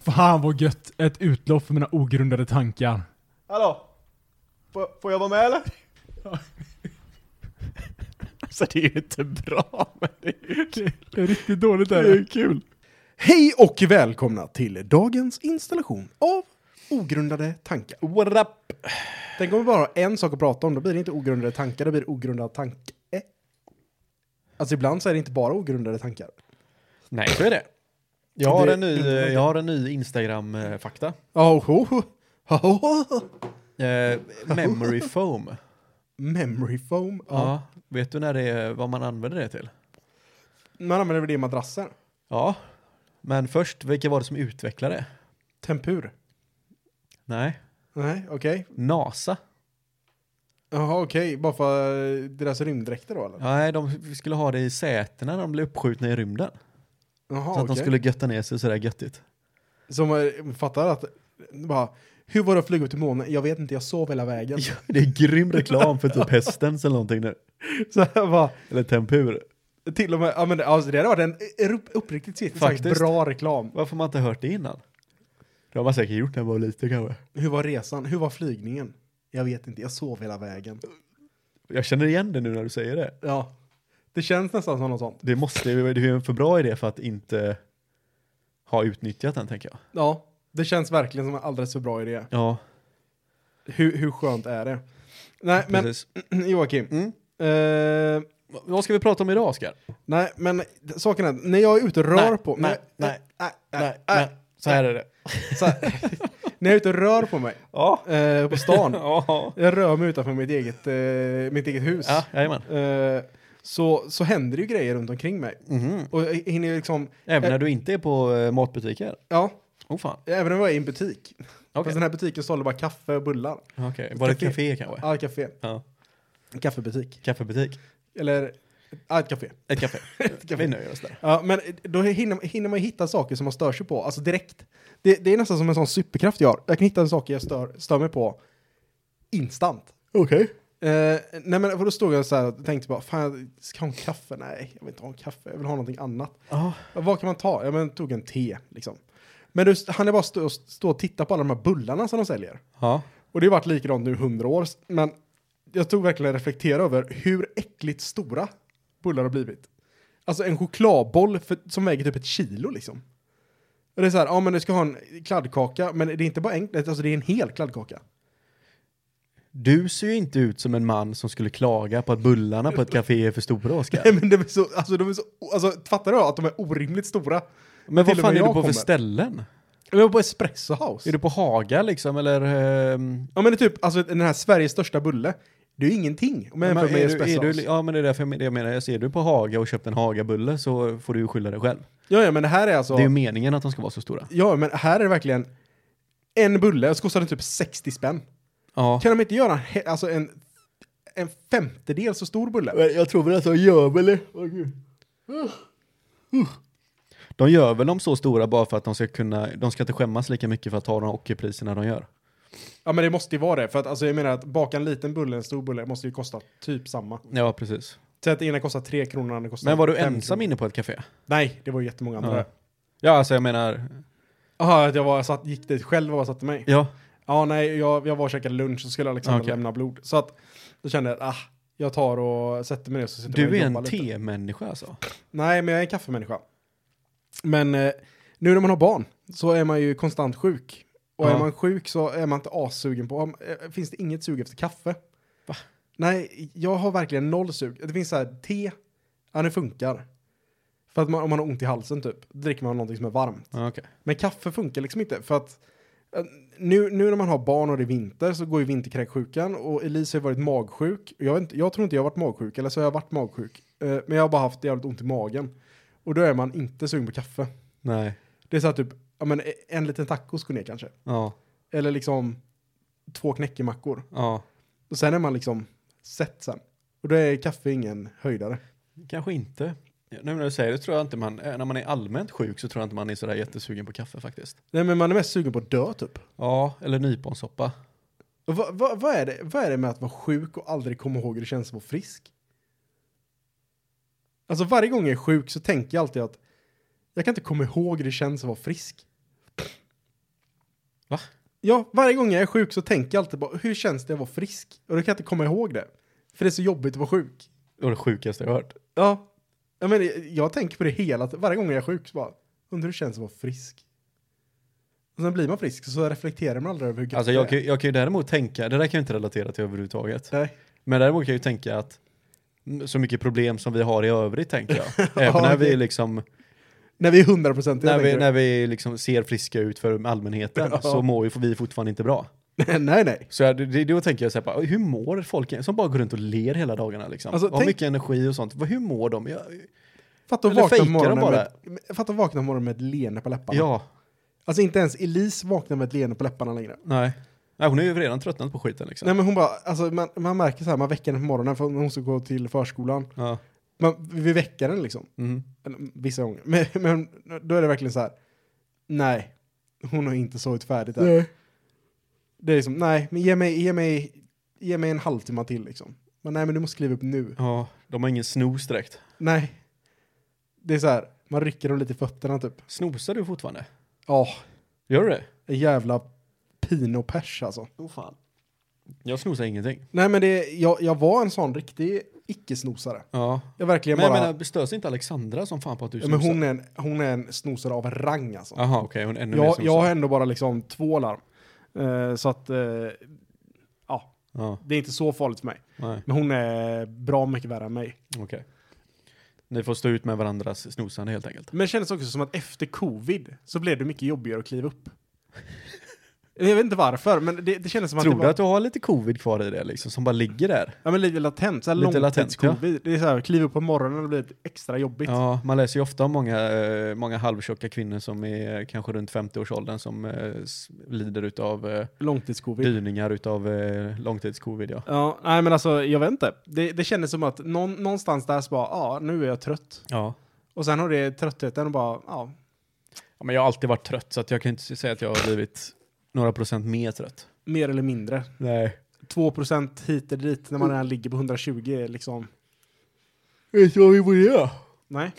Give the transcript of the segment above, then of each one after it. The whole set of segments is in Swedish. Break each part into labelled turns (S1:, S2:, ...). S1: Fan vad gött! Ett utlopp för mina ogrundade tankar.
S2: Hallå? Får, får jag vara med eller?
S3: Alltså det är ju inte bra, men det är ju kul.
S1: Det är riktigt dåligt
S3: Det är ju kul.
S2: Hej och välkomna till dagens installation av ogrundade tankar.
S3: What up?
S2: Tänk om vi bara har en sak att prata om, då blir det inte ogrundade tankar, då blir det ogrundad tanke. Alltså ibland så är det inte bara ogrundade tankar.
S3: Nej, så är det. Jag har
S2: Det-
S3: en ny, eh, jag har en ny Instagram-fakta.
S2: Oh, oh, oh, oh.
S3: Eh, memory foam.
S2: Memory foam.
S3: Ja.
S2: Ja.
S3: Vet du när det är, vad man använder det till?
S2: Man använder väl det i madrasser?
S3: Ja. Men först, vilka var det som utvecklade det?
S2: Tempur?
S3: Nej.
S2: Nej, okej.
S3: NASA.
S2: Jaha, okej. Bara för eh, deras rymddräkter då eller?
S3: Nej, de skulle ha det i sätena när de blev uppskjutna i rymden.
S2: Jaha,
S3: så att de
S2: okej.
S3: skulle götta ner sig sådär göttigt.
S2: Som eh, fattar att, bara, hur var det att flyga upp till månen? Jag vet inte, jag sov hela vägen.
S3: Ja, det är grym reklam för typ hästens eller någonting nu.
S2: Så jag bara,
S3: Eller tempur.
S2: till och med, ja men det- alltså, det hade varit en upp, uppriktigt sett sagt,
S3: Faktiskt.
S2: bra reklam.
S3: Varför har man inte hört det innan? Det har man säkert gjort när man var liten kanske.
S2: Hur var resan? Hur var flygningen? Jag vet inte, jag sov hela vägen.
S3: Jag känner igen det nu när du säger det.
S2: Ja. Det känns nästan som något sånt.
S3: Det måste ju, det är ju en för bra idé för att inte ha utnyttjat den tänker jag.
S2: Ja. Det känns verkligen som en alldeles för bra idé.
S3: Ja,
S2: Hur, hur skönt är det? Nej, men
S3: precis.
S2: Joakim.
S3: Mm.
S2: Eh,
S3: Vad ska vi prata om idag Oskar?
S2: nej, men saken är, när jag är ute och rör
S3: Nej,
S2: på
S3: nej, nej,
S2: nej,
S3: Nej,
S2: nej, nej.
S3: så här är det.
S2: Så här, när jag är ute och rör på mig
S3: Ja.
S2: eh, på stan,
S3: Ja,
S2: jag rör mig utanför mitt eget, eh, mitt eget hus,
S3: ja jajamän.
S2: eh, så, så händer det ju grejer runt omkring mig.
S3: Mhm.
S2: Och jag hinner ju liksom,
S3: Även när du inte är på eh, matbutiker?
S2: ja,
S3: Oh fan.
S2: även om jag är i en butik.
S3: Okej,
S2: Fast den här butiken sålde bara kaffe och bullar.
S3: Okej. var det ett
S2: Café.
S3: café kanske?
S2: Ja, ett café.
S3: Ja.
S2: En kaffebutik.
S3: Kaffebutik?
S2: Eller, ja, ett café.
S3: Ett café.
S2: café.
S3: Vi nöjer oss där.
S2: Ja, men då hinner, hinner man ju hitta saker som man stör sig på, alltså direkt. Det, det är nästan som en sån superkraft jag har. Jag kan hitta en sak jag stör, stör mig på instant.
S3: Okej.
S2: Eh, nej men för då stod jag så här och tänkte bara, fan jag ska ha en kaffe? Nej, jag vill inte ha en kaffe, jag vill ha någonting annat.
S3: Ja.
S2: Ja, Vad kan man ta? Ja men tog en te liksom. Men du, han är bara stå, stå och titta på alla de här bullarna som de säljer.
S3: Ja.
S2: Och det har varit likadant nu i hundra år. Men jag tog verkligen att reflektera över hur äckligt stora bullar har blivit. Alltså en chokladboll för, som väger typ ett kilo liksom. Och det är så här, ja men du ska ha en kladdkaka, men det är inte bara en, alltså det är en hel kladdkaka.
S3: Du ser ju inte ut som en man som skulle klaga på att bullarna på ett café är för stora,
S2: Nej
S3: Oskar.
S2: men de är så, alltså de är så, alltså fattar du att de är orimligt stora?
S3: Men vad
S2: till och
S3: fan
S2: med
S3: är du
S2: jag
S3: på för
S2: kommer.
S3: ställen?
S2: Jag var på Espresso
S3: Är
S2: House.
S3: du på Haga liksom, eller? ehm,
S2: Ja men det är typ, alltså den här Sveriges största bulle, det är ju ingenting om jag
S3: men
S2: jämför med
S3: är du,
S2: Espresso
S3: är du,
S2: House.
S3: ja men det är därför jag- det jag menar, jag ser du på Haga och köpt en Hagabulle så får du skylla dig själv.
S2: Ja ja men det här är alltså...
S3: Det är ju meningen att de ska vara så stora.
S2: Ja, men här är det verkligen en bulle, och så kostar den typ 60 spänn.
S3: Ja.
S2: Kan de inte göra en, he- alltså en, en femtedel så stor bulle?
S3: Jag tror väl att de gör väl det. De gör väl dem så stora bara för att de ska kunna, de ska inte skämmas lika mycket för att ta de ockerpriserna de gör.
S2: Ja, men det måste ju vara det, för att alltså, jag menar att baka en liten bulle, en stor bulle, måste ju kosta typ samma.
S3: Ja, precis.
S2: Så att det ena kostar tre kronor, den andra kostar
S3: Men var du
S2: fem
S3: ensam
S2: kronor.
S3: inne på ett café?
S2: Nej, det var ju jättemånga andra.
S3: Ja. Ja, alltså jag menar,
S2: Jaha, att jag, var, jag satt, gick dit själv och bara satte mig? Ja,
S3: ja.
S2: nej, jag, jag var och käkade lunch, så skulle Alexander
S3: Okej.
S2: lämna blod. Så att, då kände jag, ah, jag tar och sätter mig ner så sitter jag och
S3: Du är
S2: jobbar
S3: en
S2: lite.
S3: te-människa alltså?
S2: Nej, men jag är en kaffemänniska. Men eh, nu när man har barn så är man ju konstant sjuk. Och
S3: Ja.
S2: är man sjuk så är man inte assugen på... eh, Finns det inget sug efter kaffe?
S3: Va?
S2: Nej, jag har verkligen noll sug. Det finns så här te, ja det funkar. För att man, om man har ont i halsen typ, då dricker man någonting som är varmt.
S3: Ja, okej.
S2: Men kaffe funkar liksom inte för att eh, nu, nu när man har barn och det är vinter så går ju vinterkräksjukan och Elise har varit magsjuk. Jag, vet inte, jag tror inte jag har varit magsjuk, eller så har jag varit magsjuk. Eh, Men jag har bara haft jävligt ont i magen. Och då är man inte sugen på kaffe.
S3: Nej.
S2: Det är så här typ, ja men en liten taco skulle ner kanske.
S3: Ja.
S2: Eller liksom två knäckemackor.
S3: Ja.
S2: Och sen är man liksom sett sen. Och då är kaffe ingen höjdare.
S3: Kanske inte. Ja, Nu när du säger det tror jag inte man, eh, när man är allmänt sjuk så tror jag inte man är sådär jättesugen på kaffe faktiskt.
S2: Nej men man är mest sugen på att dö typ.
S3: Ja, eller nyponsoppa.
S2: Och Vad vad- vad är, det- vad är det med att vara sjuk och aldrig komma ihåg hur det känns att vara frisk? Alltså varje gång jag är sjuk så tänker jag alltid att jag kan inte komma ihåg hur det känns att vara frisk.
S3: Va?
S2: Ja, varje gång jag är sjuk så tänker jag alltid bara, hur känns det att vara frisk? Och då kan jag inte komma ihåg det. För det är så jobbigt att vara sjuk.
S3: Det var det sjukaste jag hört.
S2: Ja. Jag, menar, jag tänker på det hela, varje gång jag är sjuk så bara, undrar hur det känns att vara frisk. Och sen blir man frisk så reflekterar man aldrig över hur gött
S3: Alltså
S2: det
S3: jag
S2: är.
S3: kan, ju- jag kan ju däremot tänka, det där kan jag inte relatera till överhuvudtaget.
S2: Nej.
S3: Men däremot kan jag ju tänka att mm, så mycket problem som vi har i övrigt tänker jag. Även
S2: Ja,
S3: när vi
S2: det-
S3: liksom,
S2: När vi är hundraprocentiga.
S3: när vi,
S2: tänker
S3: när vi liksom ser friska ut för allmänheten
S2: Ja.
S3: så mår ju vi fortfarande inte bra.
S2: du. nej, nej.
S3: Så jag, det, då tänker jag så här, bara, hur mår folk som bara går runt och ler hela dagarna liksom?
S2: Alltså,
S3: har
S2: tänk-
S3: mycket energi och sånt. Vad- Hur mår de? Jag,
S2: Fatta att
S3: Eller
S2: vakna
S3: fejkar
S2: på
S3: de
S2: morgonen
S3: bara?
S2: med, fatta att vakna på morgonen med ett leende på läpparna.
S3: ja,
S2: Alltså inte ens Elise vaknar med ett leende på läpparna längre.
S3: nej. nej. Hon är ju redan tröttnat på skiten liksom.
S2: Nej men hon bara, alltså man, man märker så här, man väcker henne på morgonen för hon ska gå till förskolan.
S3: Ja.
S2: Man, vi väcker henne liksom,
S3: Mm.
S2: Eller, vissa gånger. Men, men då är det verkligen så här, nej, hon har inte sovit färdigt än. Det är liksom, nej, men ge mig, ge mig, ge mig en halvtimme till liksom. Men nej men du måste kliva upp nu.
S3: ja, de har ingen snos direkt.
S2: Nej. Det är så här, man rycker dem lite i fötterna typ.
S3: Snosar du fortfarande?
S2: Ja,
S3: Gör du det?
S2: en jävla pinot pers alltså.
S3: Oh, fan. Jag snosar ingenting.
S2: Nej men det, jag, jag var en sån riktig icke-snosare.
S3: Ja.
S2: Jag verkligen
S3: Men jag
S2: bara...
S3: menar, störs inte Alexandra som fan på att du
S2: Ja,
S3: snosar?
S2: men hon är, en, hon är en snosare av rang alltså.
S3: Jaha, okej, hon är ännu mer
S2: jag,
S3: snosig.
S2: jag har ändå bara liksom två larm. Eh, så att, eh, ja,
S3: Ja,
S2: det är inte så farligt för mig.
S3: nej,
S2: Men hon är bra mycket värre än mig.
S3: okej. Ni får stå ut med varandras snosande helt enkelt.
S2: Men det kändes också som att efter covid så blev det mycket jobbigare att kliva upp. Jag vet inte varför, men det, det kändes som
S3: Tror
S2: att det
S3: du
S2: var
S3: att du har lite covid kvar i det liksom, som bara ligger där?
S2: ja, men lite latent, så här
S3: Lite latent, ja.
S2: långtidscovid. Det är så här, kliva upp på morgonen och det blir extra jobbigt.
S3: Ja, man läser ju ofta om många, eh, många halvtjocka kvinnor som är eh, kanske runt 50-årsåldern som eh, s- lider utav eh,
S2: Långtidscovid.
S3: dyningar utav eh, långtidscovid. Ja.
S2: Ja, nej men alltså jag vet inte. Det, det kändes som att någon, någonstans där så bara, ja, nu är jag trött.
S3: ja.
S2: Och sen har det tröttheten och bara, ja.
S3: Ja, men jag har alltid varit trött så att jag kan inte säga att jag har blivit några procent mer trött.
S2: Mer eller mindre.
S3: Nej.
S2: 2% hit eller
S3: Mm.
S2: dit när man redan ligger på 120 är liksom.
S3: Vet du vad vi borde göra?
S2: Nej.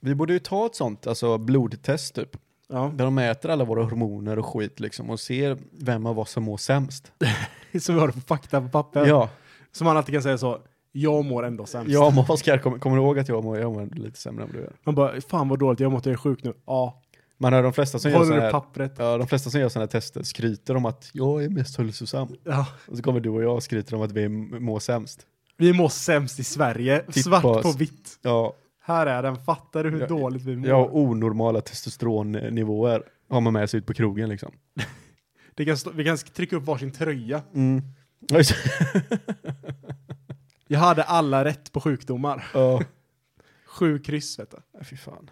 S3: Vi borde ju ta ett sånt, alltså blodtest typ.
S2: Ja.
S3: Där de mäter alla våra hormoner och skit liksom och ser vem av oss som mår sämst.
S2: Så vi har det på fakta på papper.
S3: Ja,
S2: Så man alltid kan säga så. Jag mår ändå sämst.
S3: jag mår, Oskar, kommer, kommer du ihåg att jag mår, jag mår lite sämre än vad du gör?
S2: Man bara, fan vad dåligt, jag mått, jag är sjuk nu. Ja.
S3: Man hör de flesta som gör
S2: Håller
S3: sådana
S2: du
S3: här,
S2: pappret?
S3: ja, de flesta som gör såna här tester skryter om att jag är mest hälsosam.
S2: Ja.
S3: Och så kommer du och jag och skryter om att vi m- mår sämst.
S2: Vi mår sämst i Sverige.
S3: Titta
S2: Svart
S3: på oss.
S2: på vitt.
S3: Ja,
S2: Här är den. Fattar du hur
S3: Ja,
S2: dåligt vi mår?
S3: jag har onormala testosteronnivåer har man med sig ut på krogen liksom.
S2: Det kan stå, vi kan trycka upp varsin tröja.
S3: Mm. Ja, just-
S2: Jag hade alla rätt på sjukdomar.
S3: ja.
S2: Sju kryss vet du.
S3: Fy fan.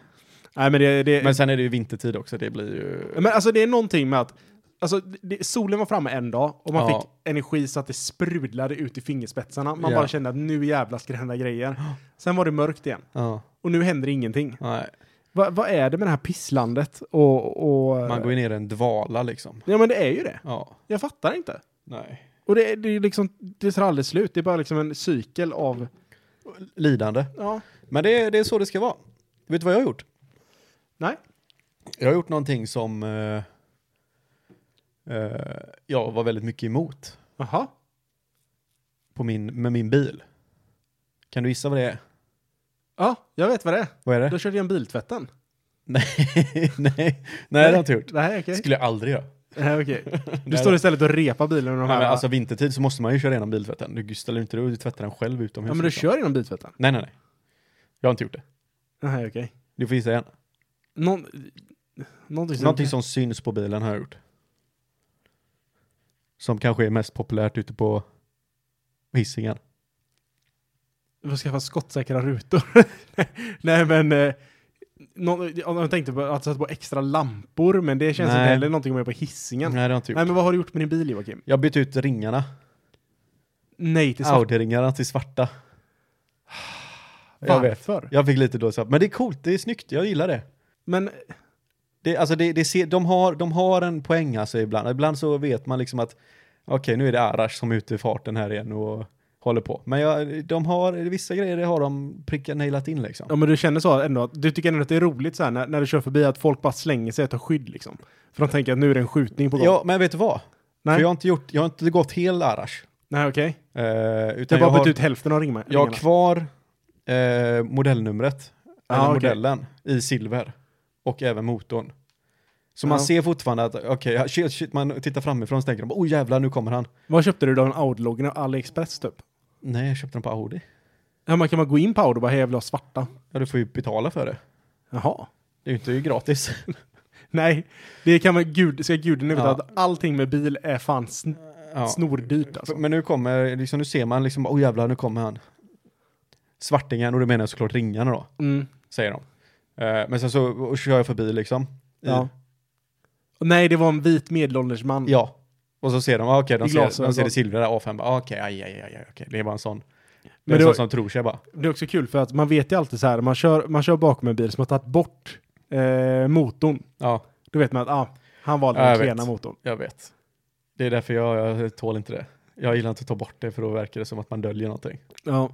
S2: Nej men det, det,
S3: Men sen är det ju vintertid också, det blir ju...
S2: Men alltså det är någonting med att alltså, det, solen var framme en dag och man
S3: Ja.
S2: fick energi så att det sprudlade ut i fingerspetsarna. Man
S3: Ja.
S2: bara kände att nu jävlar ska det hända grejer. Sen var det mörkt igen
S3: Ja,
S2: och nu händer ingenting.
S3: nej.
S2: Va, vad är det med det här pisslandet och... och
S3: Man går ju ner i en dvala liksom.
S2: Ja men det är ju det.
S3: Ja,
S2: Jag fattar inte.
S3: nej.
S2: Och det, det är liksom, det tar aldrig slut. Det är bara liksom en cykel av...
S3: Lidande.
S2: Ja.
S3: Men det, är- det är så det ska vara. Vet du vad jag har gjort?
S2: Nej.
S3: Jag har gjort någonting som eh, eh, jag var väldigt mycket emot
S2: Jaha.
S3: på min, med min bil. Kan du gissa vad det är?
S2: Ja, jag vet vad det är.
S3: Vad är det?
S2: Då körde jag en biltvätten.
S3: nej, nej, nej, det har jag inte gjort.
S2: Nej, okej.
S3: skulle jag aldrig göra.
S2: Nej, okej. Du
S3: Nej,
S2: står
S3: då.
S2: istället och repar bilen med de
S3: Nej,
S2: här...
S3: men alltså vintertid så måste man ju köra igenom biltvätten. Du ställer inte du tvättar den själv utomhus.
S2: ja men du
S3: liksom.
S2: kör genom biltvätten?
S3: Nej, nej, nej. Jag har inte gjort det.
S2: Nej, okej.
S3: Du får gissa igen.
S2: Någon, någonting som...
S3: Någonting som syns på bilen har jag gjort. Som kanske är mest populärt ute på Hisingen.
S2: Vi får skaffa skottsäkra rutor. Nej men... Eh, någon, jag tänkte på att sätta på extra lampor, men det känns
S3: Nej.
S2: inte heller någonting om jag är på hissingen.
S3: Nej, typ. det har jag inte
S2: Nej.
S3: gjort.
S2: men vad har du gjort med din bil Joakim?
S3: Jag har bytt ut ringarna.
S2: Nej till svart.
S3: Audi-ringarna till svarta. Jag vet.
S2: Varför?
S3: Jag fick lite dåligt samvete. Men det är coolt, det är snyggt, jag gillar det.
S2: Men
S3: det, alltså det, det ser, de, har, de har en poäng alltså ibland. Ibland så vet man liksom att okej, nu är det Arash som är ute i farten här igen och håller på. Men jag, de har, vissa grejer det har de prickat nailat in liksom.
S2: Ja men du känner så ändå, att- du tycker ändå att det är roligt så här när, när du kör förbi att folk bara slänger sig och tar skydd liksom. För de tänker att nu är det en skjutning på gång.
S3: Ja, men vet du vad?
S2: Nej.
S3: För jag har inte, gjort, jag har inte gått hel Arash.
S2: Nej okej.
S3: Eh,
S2: Du
S3: utan
S2: har
S3: jag
S2: bara bytt
S3: har,
S2: ut hälften av ringma-
S3: jag har
S2: ringarna.
S3: kvar eh, modellnumret,
S2: Ja,
S3: eller
S2: Ah, okej.
S3: modellen, i silver. Och även motorn. Så man
S2: Ja.
S3: ser fortfarande att, okej, ja, shit, shit, man tittar framifrån så tänker de, oh jävlar, nu kommer han.
S2: Vad köpte du då? En Outloggen av AliExpress typ?
S3: Nej, jag köpte den på Audi.
S2: Ja man kan bara gå in på Audi och bara hej jag vill ha svarta.
S3: Ja, du får ju betala för det.
S2: Jaha.
S3: Det är ju inte gratis.
S2: Nej, det kan man, gud, ska gudarna veta
S3: Ja.
S2: att allting med bil är fan sn-
S3: Ja.
S2: snordyrt alltså.
S3: Men nu kommer, liksom, nu ser man liksom, oh jävlar, nu kommer han. Svartingen, och det menar jag såklart ringarna då,
S2: Mm.
S3: säger de. Eh, men sen så och kör jag förbi liksom. I,
S2: Ja. Nej, det var en vit medelålders man.
S3: ja. Och så ser de, ah, okej,
S2: I
S3: de, ser,
S2: glasögon.
S3: de ser det silvriga där, A5, bara, ah, okej, aj, aj, aj, aj, okej, det är bara en sån. Det
S2: Men
S3: är en
S2: det
S3: sån
S2: var-
S3: som tror sig bara.
S2: Det är också kul för att man vet ju alltid så här, man kör, man kör bakom en bil som har tagit bort eh, motorn.
S3: Ja,
S2: Då vet man att ah, han valde
S3: Ja,
S2: den
S3: jag
S2: klena
S3: vet.
S2: motorn.
S3: jag vet. Det är därför jag, jag tål inte det. Jag gillar inte att ta bort det, för då verkar det som att man döljer någonting.
S2: Ja.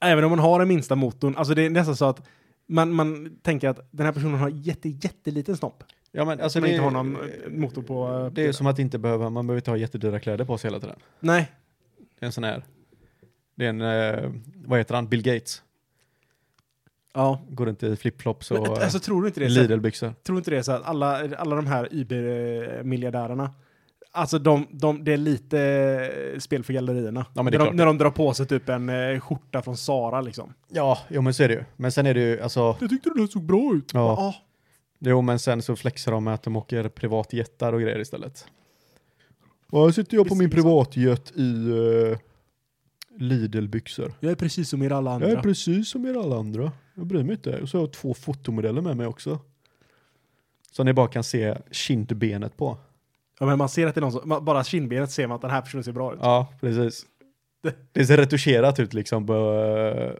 S2: Även om man har den minsta motorn, alltså det är nästan så att man, man tänker att den här personen har jätte, jätteliten snopp.
S3: Ja, men alltså
S2: Som
S3: det
S2: inte
S3: är-
S2: har någon eh, motor på... eh,
S3: Det är ju
S2: bilen.
S3: som att inte behöva, man behöver inte ha jättedyra kläder på sig hela tiden.
S2: Nej,
S3: Det är en sån här, det är en, eh, vad heter han, Bill Gates.
S2: ja.
S3: Går inte i flipflops
S2: Men,
S3: och eh,
S2: alltså tror du inte det? är så här-
S3: Lidl-byxor.
S2: Tror inte det är så att alla, alla de här Uber-miljardärerna, alltså de, de, det är lite eh, spel för gallerierna.
S3: Ja, men det är
S2: när, de,
S3: klart.
S2: när de drar på sig typ en eh, skjorta från Sara liksom.
S3: Ja, jo men så är det ju. Men sen är det ju, alltså,
S1: Jag tyckte den här såg bra ut.
S3: ja,
S2: Ja.
S3: jo men sen så flexar de med att de åker privatjettar och grejer istället. Och här sitter jag på min
S2: Precis.
S3: privatjet i uh, Lidl-byxor.
S2: Jag är precis som er alla andra.
S3: Jag är precis som er alla andra. Jag bryr mig inte. Och så har jag två fotomodeller med mig också. Som ni bara kan se kindbenet på.
S2: ja, men man ser att det är någon som, man, bara kindbenet ser man att den här personen ser bra ut.
S3: Ja, precis. Det ser retuscherat ut liksom. På, eh,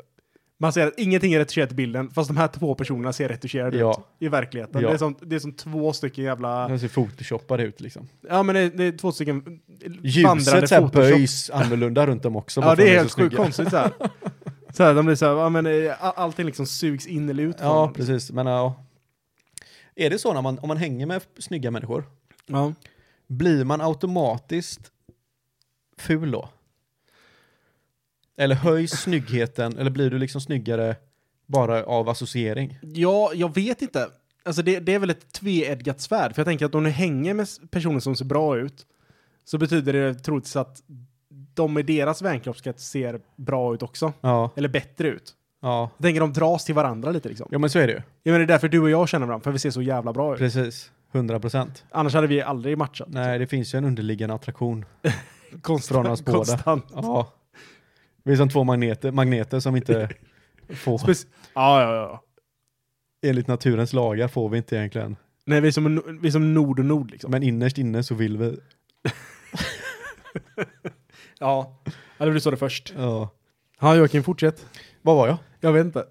S2: Man ser att ingenting är retuscherat i bilden, fast de här två personerna ser retuscherade ut
S3: Ja.
S2: i verkligheten.
S3: Ja.
S2: Det, är som, det är som två stycken jävla,
S3: den ser photoshoppad ut liksom.
S2: ja men det är, det är två stycken vandrande
S3: Ljuset så här
S2: Photoshop.
S3: böjs annorlunda runt dem också. bara
S2: Ja,
S3: för
S2: det
S3: att
S2: är
S3: de
S2: helt
S3: så
S2: sjukt
S3: snygga.
S2: konstigt så här. Så här, de blir så här, ja, men, eh, all- allting liksom sugs in eller ut. från
S3: Ja,
S2: dem.
S3: precis. Men ja. Är det så när man, om man hänger med snygga människor,
S2: ja.
S3: blir man automatiskt ful då? Eller höjs snyggheten, eller blir du liksom snyggare bara av associering?
S2: ja, jag vet inte. Alltså det, det är väl ett tveeggat svärd, för jag tänker att om du hänger med s- personer som ser bra ut så betyder det troligtvis att de i deras vänkroppskrets ser bra ut också.
S3: Ja,
S2: Eller bättre ut.
S3: ja.
S2: Jag tänker de dras till varandra lite liksom.
S3: Ja men så är det ju.
S2: Jag menar det är därför du och jag känner varandra, för vi ser så jävla bra ut.
S3: Precis. 100 procent.
S2: Annars hade vi aldrig matchat.
S3: Nej, det finns ju en underliggande attraktion.
S2: konstant.
S3: från oss båda.
S2: konstant.
S3: Ja. Vi är som två magneter, magneter som inte får,
S2: Spec- ja, ja, ja.
S3: enligt naturens lagar får vi inte egentligen.
S2: Nej, vi är som, en no- vi är som nord och nord liksom.
S3: Men innerst inne så vill vi.
S2: Ja, eller du sa det först.
S3: Ja.
S2: Ja, Joakim, fortsätt.
S3: Vad var jag?
S2: Jag vet inte.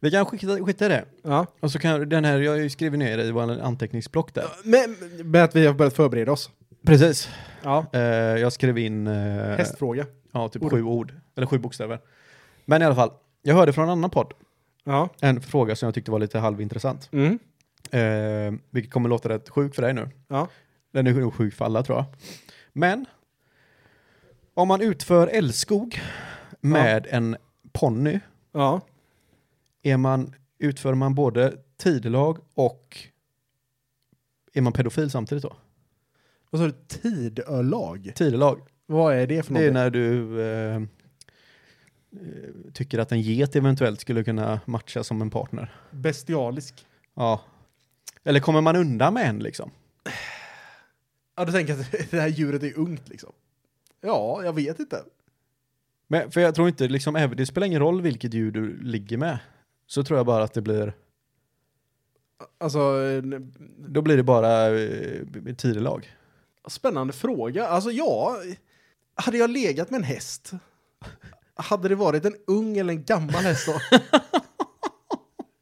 S3: Vi kan skita, skita i det.
S2: Ja.
S3: Och så kan den här, jag har ju skrivit ner det i vår anteckningsblock där.
S2: Men, med att vi har börjat förbereda oss.
S3: Precis.
S2: Ja.
S3: Eh, jag skrev in eh,
S2: Hästfråga.
S3: ja, typ
S2: Ord.
S3: sju ord, eller sju bokstäver. Men i alla fall, jag hörde från en annan podd
S2: Ja.
S3: en fråga som jag tyckte var lite halvintressant.
S2: Mm.
S3: Eh, vilket kommer låta rätt sjuk för dig nu.
S2: Ja.
S3: Den är nog sjuk för alla tror jag. Men, om man utför älskog med en ponny,
S2: Ja.
S3: är man, utför man både tidelag och är man pedofil samtidigt då?
S2: Vad sa du? Tidölag?
S3: Tidelag,
S2: Vad är det för
S3: det är
S2: någonting?
S3: när du eh, eh, tycker att en get eventuellt skulle kunna matcha som en partner.
S2: Bestialisk.
S3: Ja. Eller kommer man undan med en liksom?
S2: Ja, du tänker att det här djuret är ungt liksom? Ja, jag vet inte.
S3: Men, för jag tror inte, liksom, även- det spelar ingen roll vilket djur du ligger med. Så tror jag bara att det blir,
S2: Alltså, en-
S3: då blir det bara eh, tidelag.
S2: spännande fråga. Alltså, ja. Hade jag legat med en häst? Hade det varit en ung eller en gammal häst då?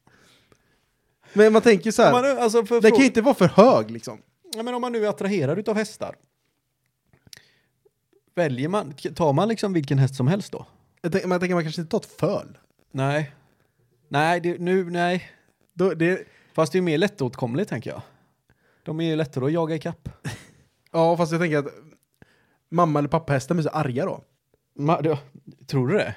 S2: Men man tänker så här.
S3: Om Man, nu- alltså, för,
S2: Den kan
S3: frå-
S2: ju inte vara för hög liksom.
S3: Ja, men om man nu är attraherad utav hästar. Väljer man, tar man liksom vilken häst som helst då?
S2: Jag tänker, men jag tänker man kanske inte tar ett föl.
S3: Nej. Nej, det, nu, nej.
S2: Då, det,
S3: Fast det är mer lättåtkomligt tänker jag. De är ju lättare att jaga ikapp.
S2: ja, fast jag tänker att mamma eller pappahästen blir så arga då.
S3: Ma, du, tror du det?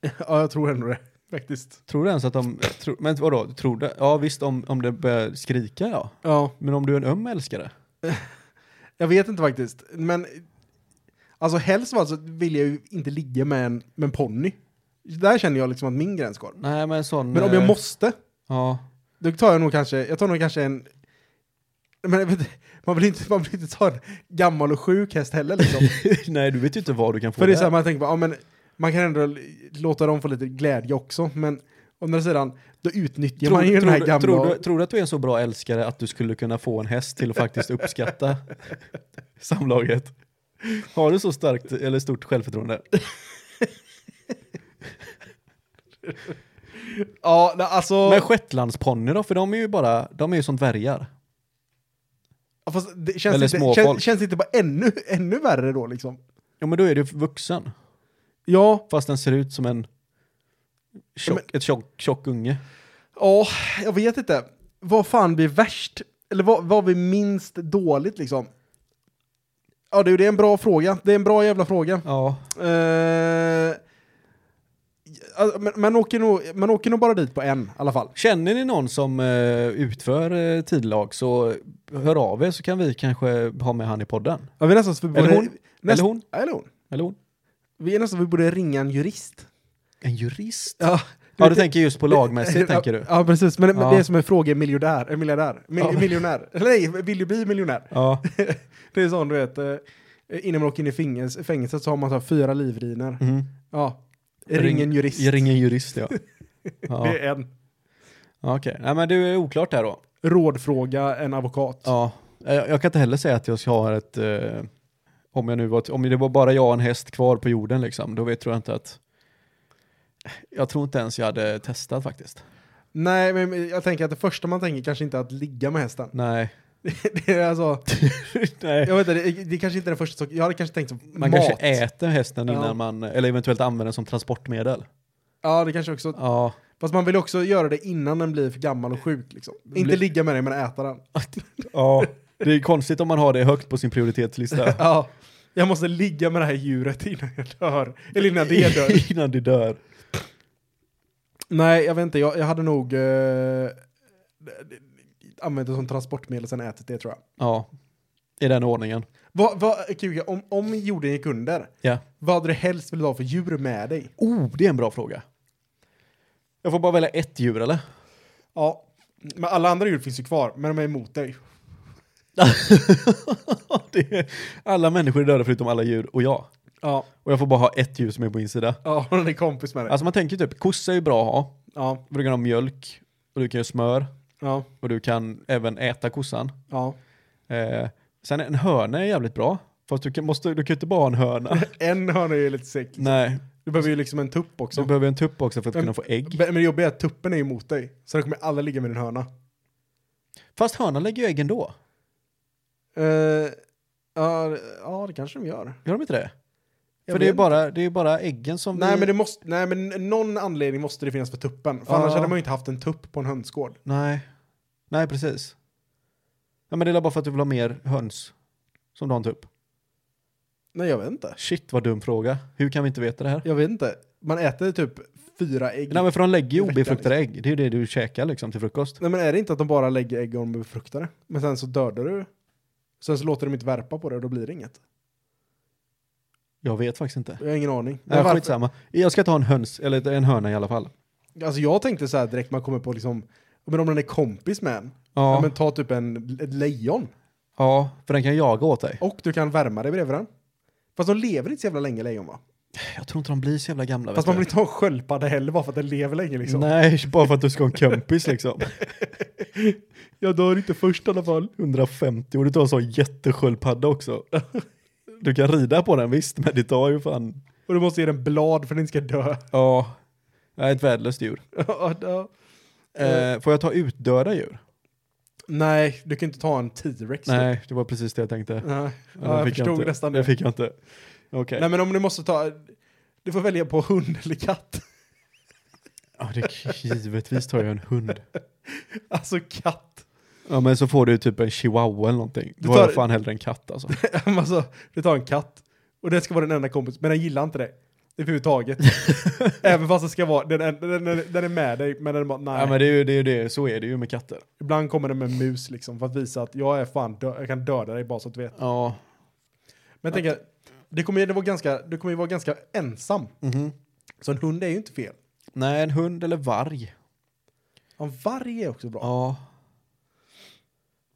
S2: ja, jag tror ändå det. Faktiskt.
S3: Tror du ens att de... Tro, men vadå, tror du? Ja visst, om, om det börjar skrika ja.
S2: Ja.
S3: Men om du är en öm älskare?
S2: Jag vet inte faktiskt, men alltså helst av allt så vill jag ju inte ligga med en, med en ponny. Där känner jag liksom att min gräns går.
S3: Nej men en sån...
S2: Men om jag
S3: eh,
S2: måste,
S3: Ja.
S2: då tar jag nog kanske, jag tar nog kanske en... Men jag vet, inte, man, vill inte, man vill inte ta en gammal och sjuk häst heller liksom.
S3: nej, du vet ju inte vad du kan få
S2: För det är så
S3: där.
S2: här, man tänker bara, ja, men man kan ändå l- låta dem få lite glädje också, men å andra sidan, då utnyttjar man ju den här
S3: du-
S2: gamla...
S3: tror, du, tror du att du är en så bra älskare att du skulle kunna få en häst till att faktiskt uppskatta samlaget? Har du så starkt eller stort självförtroende?
S2: Ja, nej, alltså...
S3: Men shetlandsponny då? För de är ju bara, de är ju som dvärgar.
S2: fast det känns,
S3: eller
S2: inte,
S3: småfolk.
S2: känns, känns inte bara ännu, ännu värre då liksom?
S3: Ja men då är du vuxen.
S2: Ja,
S3: Fast den ser ut som en tjock,
S2: Ja,
S3: ett tjock, tjock unge.
S2: Ja, jag vet inte. Vad fan blir värst? Eller vad, vad blir minst dåligt liksom? Ja du, det är en bra fråga. Det är en bra jävla fråga.
S3: Ja.
S2: Eh, ja, men man åker, nog, man åker nog bara dit på en i alla fall.
S3: Känner ni någon som eh, utför uh, tidlag så hör av er så kan vi kanske ha med han i podden.
S2: Ja, vi är nästan så vi borde,
S3: Eller hon.
S2: Näst,
S3: Eller hon.
S2: Ja, eller hon.
S3: Eller hon.
S2: Vi är nästan så vi borde ringa en jurist.
S3: En jurist?
S2: Ja,
S3: Ja, du tänker just på lagmässigt tänker du?
S2: Ja, precis. Men, men
S3: Ja.
S2: det är som en fråga miljardär. eh, Miljardär. Mil,
S3: Ja.
S2: Miljonär. Eller nej, vill du bli miljonär?
S3: Ja.
S2: Det är sån du vet, eh, innan man åker in i fängelse, fängelset så har man så här fyra livriner.
S3: Mm.
S2: Ja. Ring en jurist.
S3: Jag ringer en jurist ja. ja.
S2: Det är en.
S3: ja Okej, Nej, men du är oklart där då.
S2: Rådfråga en advokat.
S3: Ja. Jag, jag kan inte heller säga att jag har ett, eh, om, jag nu var, om det var bara jag och en häst kvar på jorden liksom, då vet, tror jag inte att, jag tror inte ens jag hade testat faktiskt.
S2: Nej, men men jag tänker att det första man tänker kanske inte är att ligga med hästen.
S3: Nej.
S2: Det är alltså,
S3: Nej.
S2: jag vet inte, det, det är kanske inte är den första saken. Jag hade kanske tänkt så,
S3: Man
S2: mat.
S3: kanske äter hästen
S2: Ja.
S3: innan man, eller eventuellt använder den som transportmedel.
S2: Ja, det kanske också.
S3: Ja.
S2: Fast man vill också göra det innan den blir för gammal och sjuk liksom. Inte
S3: Bli-
S2: ligga med den, men äta den.
S3: ja. Det är konstigt om man har det högt på sin prioritetslista.
S2: Ja. Jag måste ligga med det här djuret innan jag dör. Eller innan det dör.
S3: innan det dör.
S2: Nej, jag vet inte. Jag, jag hade nog eh, d- d- använt det som transportmedel sen ätit det tror jag.
S3: Ja. I den ordningen.
S2: Vad, vad, Kuga, om, om jorden gick under,
S3: Ja.
S2: vad hade du helst velat ha för djur med dig?
S3: Oh, det är en bra fråga. Jag får bara välja ett djur eller?
S2: Ja, men alla andra djur finns ju kvar, men de är emot dig.
S3: Det är, alla människor är döda förutom alla djur och jag.
S2: Ja,
S3: Och jag får bara ha ett djur som är på min sida.
S2: ja hon är kompis med dig.
S3: Alltså man tänker typ, kossa är ju bra att ha.
S2: Ja,
S3: För Du kan ha mjölk, och du kan göra smör,
S2: ja,
S3: och du kan även äta kossan.
S2: ja.
S3: Eh, sen en hörna är jävligt bra. Fast du kan, måste, du kan ju inte bara ha en hörna.
S2: En hörna är ju lite säck.
S3: Nej,
S2: Du behöver ju liksom en tupp också.
S3: du behöver en tupp också för att
S2: Men-
S3: kunna få ägg.
S2: Men men det jobbiga är att tuppen är emot dig, så då kommer alla ligga med din hörna.
S3: Fast hörnan lägger ju ägg ändå.
S2: Eh, ja, det- ja, det kanske de gör.
S3: Gör de inte det?
S2: Jag
S3: för det är,
S2: vet
S3: bara, det är bara äggen som
S2: Nej
S3: vi...
S2: men, det måste, nej men någon anledning måste det finnas för tuppen. För
S3: Ja.
S2: annars hade man ju inte haft en tupp på en hönsgård.
S3: Nej. Nej, precis. Ja, men det är bara för att du vill ha mer höns som du har en tupp.
S2: Nej jag vet inte.
S3: Shit vad dum fråga. Hur kan vi inte veta det här?
S2: Jag vet inte. Man äter typ fyra ägg.
S3: Nej men för de lägger ju
S2: I veckan,
S3: obefruktade ägg. Det är ju det du käkar liksom till frukost.
S2: Nej, men är det inte att de bara lägger ägg och de är befruktade? Men sen så dödar du. Sen så låter de inte värpa på det och då blir det inget.
S3: Jag vet faktiskt inte.
S2: Jag har ingen aning. Men
S3: Nej,
S2: varför-
S3: skitsamma. Jag ska ta en höns, eller en hörna i alla fall.
S2: alltså jag tänkte så här direkt man kommer på liksom, men om den är kompis med en, ja.
S3: Ja, ja,
S2: men ta typ en, ett lejon.
S3: för den kan jaga åt dig.
S2: Och du kan värma dig bredvid den. Fast de lever inte så jävla länge lejon va?
S3: Jag tror inte de blir så jävla gamla.
S2: Fast
S3: vet
S2: man vill
S3: du.
S2: inte ha en sköldpadda heller bara för att den lever länge liksom.
S3: Nej, bara för att du ska ha en kompis liksom.
S2: Jag dör inte först i alla fall.
S3: 150 och du tar en sån jättesköldpadda också. Du kan rida på den visst, men det tar ju fan...
S2: Och du måste ge den blad för att den inte ska dö.
S3: Ja, jag är ett värdelöst djur.
S2: Ja, ja.
S3: Eh, får jag ta utdöda djur?
S2: Nej, du kan inte ta en T-rex. typ.
S3: Nej, det var precis det jag tänkte.
S2: Nej,
S3: Men
S2: ja, jag
S3: fick
S2: förstod
S3: inte.
S2: nästan
S3: Det
S2: det.
S3: fick jag inte. Okej.
S2: Nej men om du måste ta, du får välja på hund eller katt.
S3: Ja, det, givetvis tar jag en hund.
S2: Alltså katt.
S3: Ja, men så får du typ en chihuahua eller någonting.
S2: Du
S3: Då har jag
S2: tar-
S3: fan hellre en katt alltså.
S2: alltså, du tar en katt. Och det ska vara den enda kompis, men den gillar inte dig. Överhuvudtaget. Även fast det ska vara, den, den, den, den är med dig, men den bara, nej.
S3: Ja, men det är ju det, är ju det. Så är det ju med katter.
S2: Ibland kommer den med en mus liksom, för att visa att jag är fan, dö- jag kan döda dig bara så att du vet.
S3: Ja.
S2: Men tänk att det kommer ju det var ganska, du kommer ju vara ganska ensam.
S3: Mhm.
S2: Så en hund är ju inte fel.
S3: Nej, en hund eller varg.
S2: En varg är också bra.
S3: Ja.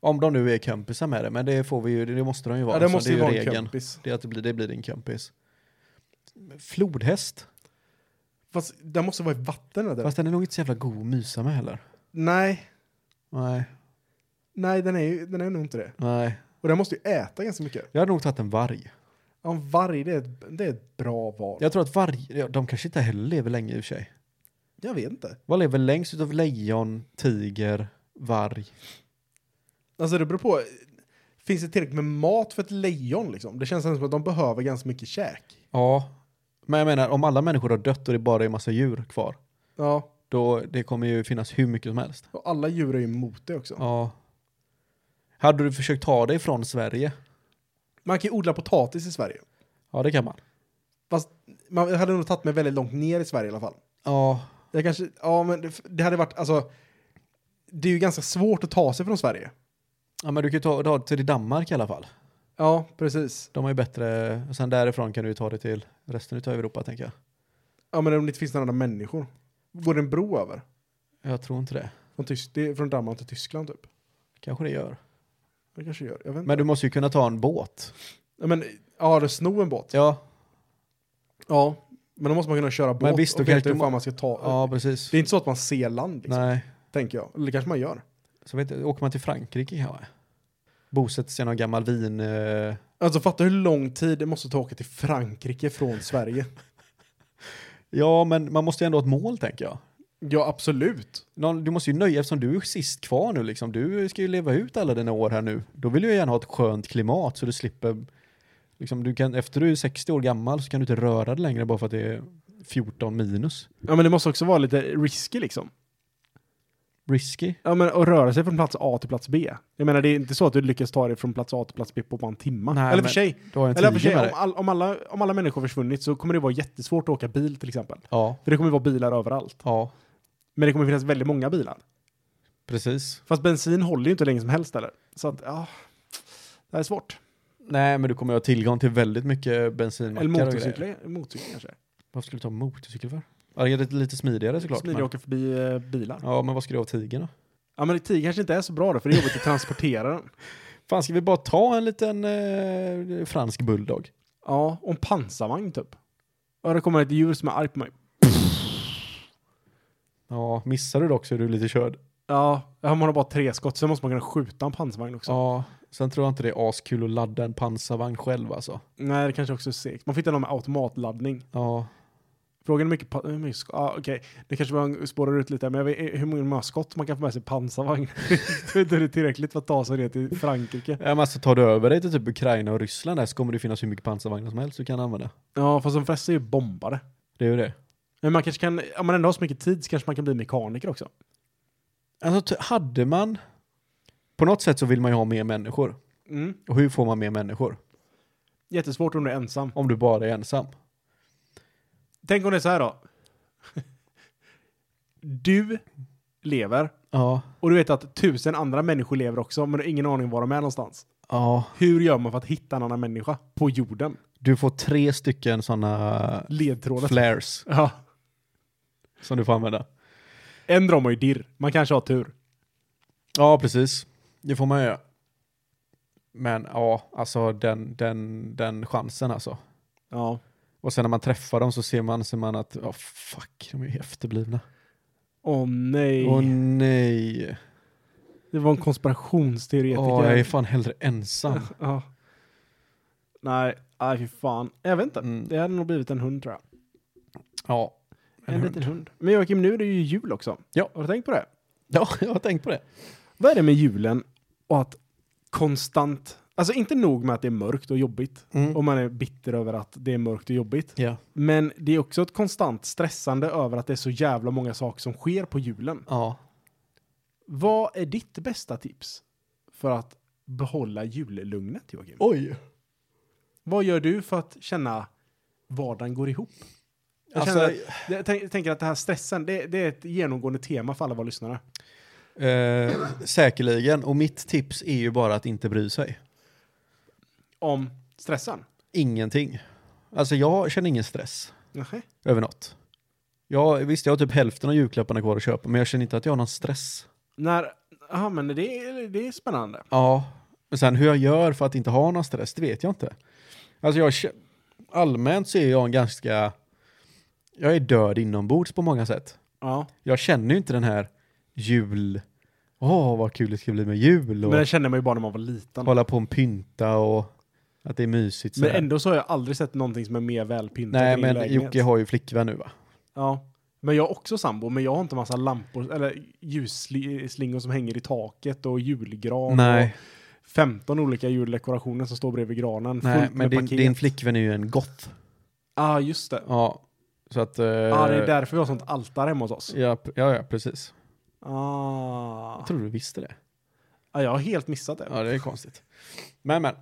S3: Om de nu är kompisar med det, men det får vi ju, det måste de ju vara.
S2: Ja, det
S3: alltså,
S2: måste
S3: är
S2: ju vara en
S3: regeln.
S2: kompis.
S3: Det, är att det, blir, det blir din kompis. Flodhäst?
S2: Fast den måste vara i vatten eller?
S3: Fast den är nog inte så jävla god att mysa med heller.
S2: Nej,
S3: Nej,
S2: nej den är ju den är nog inte det.
S3: nej.
S2: Och den måste ju äta ganska mycket.
S3: Jag hade nog tagit en varg.
S2: Ja, en varg det är ett, det är ett bra val. Jag,
S3: Jag tror att varg, ja, de kanske inte heller lever länge i och för sig.
S2: vet inte.
S3: Vad lever längst utav lejon, tiger, varg?
S2: Alltså det beror på. Finns det tillräckligt med mat för ett lejon liksom? Det känns ändå som att de behöver ganska mycket käk.
S3: Ja. Men jag menar, om alla människor har dött och det bara är massa djur kvar,
S2: Ja,
S3: då det kommer ju finnas hur mycket som helst.
S2: och alla djur är ju emot det också.
S3: Ja. Hade du försökt ta dig från Sverige?
S2: Man kan ju odla potatis i Sverige.
S3: Ja, det kan man.
S2: Fast man jag hade nog tagit mig väldigt långt ner i Sverige i alla fall.
S3: Ja.
S2: Jag kanske, ja men det, det hade varit, alltså. Det är ju ganska svårt att ta sig från Sverige.
S3: Ja, men du kan ju ta, ta dig till Danmark i alla fall.
S2: Ja, precis.
S3: De har ju bättre, och sen därifrån kan du ju ta dig till resten utav Europa tänker jag.
S2: Ja men om det inte finns några andra människor. Går det en bro över?
S3: Jag tror inte det.
S2: Från, Tysk, det är från Danmark till Tyskland typ.
S3: Kanske det gör.
S2: Det kanske gör, jag vet inte.
S3: Men du måste ju kunna ta en båt.
S2: Ja, men, ja det sno en båt.
S3: Ja,
S2: Ja. Men då måste man kunna köra båt
S3: visst, då
S2: och veta
S3: kanske
S2: hur
S3: du
S2: fan
S3: må-
S2: man ska ta.
S3: ja precis.
S2: Det är inte så att man ser land liksom,
S3: Nej,
S2: tänker jag. Eller det kanske man gör.
S3: så vet jag, åker man till Frankrike kanske? Bosätter sig i någon gammal vin... eh,
S2: Alltså fatta hur lång tid det måste ta att åka till Frankrike från Sverige.
S3: Ja, men man måste ju ändå ha ett mål tänker jag.
S2: ja absolut.
S3: Någon, du måste ju nöja, eftersom du är sist kvar nu liksom. Du ska ju leva ut alla dina år här nu. Då vill du ju gärna ha ett skönt klimat så du slipper... Liksom, du kan, efter du är 60 år gammal så kan du inte röra dig längre bara för att det är 14 minus.
S2: Ja men det måste också vara lite risky liksom.
S3: Risky.
S2: Ja, men att röra sig från plats A till plats B. Jag menar, det är inte så att du lyckas ta dig från plats A till plats B på bara en timme.
S3: Nej,
S2: Eller
S3: men-
S2: för sig,
S3: Du har en
S2: eller för
S3: tiger
S2: sig
S3: med
S2: om,
S3: dig.
S2: all, om, alla, om alla människor försvunnit så kommer det vara jättesvårt att åka bil till exempel.
S3: Ja,
S2: För det kommer vara bilar överallt.
S3: ja,
S2: Men det kommer finnas väldigt många bilar.
S3: precis.
S2: Fast bensin håller ju inte länge som helst eller. Så att, ja. Det här är svårt.
S3: Nej, men du kommer ju ha tillgång till väldigt mycket bensinmackar
S2: Eller
S3: och
S2: motorcyklar
S3: grejer.
S2: motorcykel kanske.
S3: Varför skulle du ta motorcykel för? Ja, det är lite- lite smidigare såklart.
S2: Smidigt att
S3: men-
S2: åka förbi eh, bilar.
S3: Ja, men vad ska du ha av tigern då?
S2: Ja, men det kanske inte är så bra då, för det är jobbigt att transportera den.
S3: Fan, ska vi bara ta en liten eh, fransk bulldog?
S2: Ja, och en pansarvagn typ. Ja, det kommer ett djur som är arg på mig.
S3: Ja, missar du det också är du lite körd.
S2: Ja, man har bara tre skott, sen måste man kunna skjuta en pansarvagn också.
S3: Ja, sen tror jag inte det är askul att ladda en pansarvagn själv alltså.
S2: Nej, det kanske också är segt. Man får hitta någon med automatladdning.
S3: Ja,
S2: Frågan är hur mycket... pa- Hur mycket sk- ah, okej. Det kanske man spårar ut lite, men jag vet, hur många skott man kan få med sig i pansarvagn. det är inte tillräckligt för att ta sig ner till Frankrike.
S3: ja men alltså tar du över dig till typ Ukraina och Ryssland där så kommer det finnas hur mycket pansarvagnar som helst du kan använda.
S2: Ja, fast de flesta är ju bombare.
S3: Det är ju det.
S2: Men man kanske kan, om man ändå har så mycket tid så kanske man kan bli mekaniker också.
S3: Alltså t- hade man, på något sätt så vill man ju ha mer människor.
S2: Mm.
S3: Och hur får man mer människor?
S2: Jättesvårt om du är ensam.
S3: Om du bara är ensam.
S2: Tänk om det är så här då. Du lever
S3: Ja,
S2: och du vet att tusen andra människor lever också, men du har ingen aning var de är någonstans.
S3: ja.
S2: Hur gör man för att hitta en annan människa på jorden?
S3: Du får tre stycken sådana
S2: Ledtråden.
S3: flares
S2: ja.
S3: som du får använda.
S2: En drar man ju dirr. Man kanske har tur.
S3: Ja, precis. Det får man ju göra. Men ja, alltså den, den, den chansen alltså.
S2: Ja.
S3: Och sen när man träffar dem så ser man, ser man att, ja fuck, de är ju efterblivna.
S2: Åh nej.
S3: Åh nej.
S2: Det var en konspirationsteoretiker.
S3: Åh, jag är fan hellre ensam.
S2: ja. Nej, nej fy fan. Jag vet inte.
S3: Mm.
S2: Det hade nog blivit en hund tror jag.
S3: Ja.
S2: En, liten hund. Men Joakim, nu är det ju jul också.
S3: Ja.
S2: Har du tänkt på det?
S3: Ja, jag har tänkt på det.
S2: Vad är det med julen och att konstant, Alltså inte nog med att det är mörkt och jobbigt.
S3: Mm.
S2: Och man är bitter över att det är mörkt och jobbigt.
S3: Ja.
S2: Men det är också ett konstant stressande över att det är så jävla många saker som sker på julen.
S3: ja.
S2: Vad är ditt bästa tips för att behålla jullugnet, Joakim?
S3: Oj.
S2: Vad gör du för att känna vardagen går ihop? Jag,
S3: Alltså,
S2: känner att, jag tänk, tänker att det här stressen, det, det är ett genomgående tema för alla våra lyssnare.
S3: eh, säkerligen. Och mitt tips är ju bara att inte bry sig.
S2: Om stressen?
S3: Ingenting. Alltså jag känner ingen stress
S2: Nähä.
S3: över något. Jag, visst, jag har typ hälften av julklapparna kvar att köpa, men jag känner inte att jag har någon stress.
S2: När, ja men det, är- det är spännande.
S3: Ja, men sen hur jag gör för att inte ha någon stress, det vet jag inte. Alltså jag, kä- allmänt så är jag en ganska, jag är död inombords på många sätt.
S2: Ja.
S3: Jag känner ju inte den här jul, åh vad kul det ska bli med jul och
S2: Men det kände man ju bara när man var liten.
S3: hålla på och pynta och att det är mysigt.
S2: Men
S3: sådär.
S2: ändå så har jag aldrig sett någonting som är mer välpyntat
S3: Nej,
S2: än din
S3: men
S2: lägenhet.
S3: Jocke har ju flickvän nu va?
S2: Ja. Men jag är också sambo, men jag har inte massa lampor eller ljusslingor som hänger i taket och julgran
S3: Nej,
S2: och 15 olika juldekorationer som står bredvid granen.
S3: nej
S2: fullt
S3: men
S2: med
S3: din,
S2: paket.
S3: din flickvän är ju en goth.
S2: Ja, ah, just det.
S3: Ja, så att... eh,
S2: Ja, ah, det är därför vi har sånt altare hemma hos oss.
S3: Ja, p- ja, ja, precis.
S2: Ah.
S3: Jag tror du visste det.
S2: Ja, jag har helt missat det.
S3: Ja, det är konstigt. Men, men.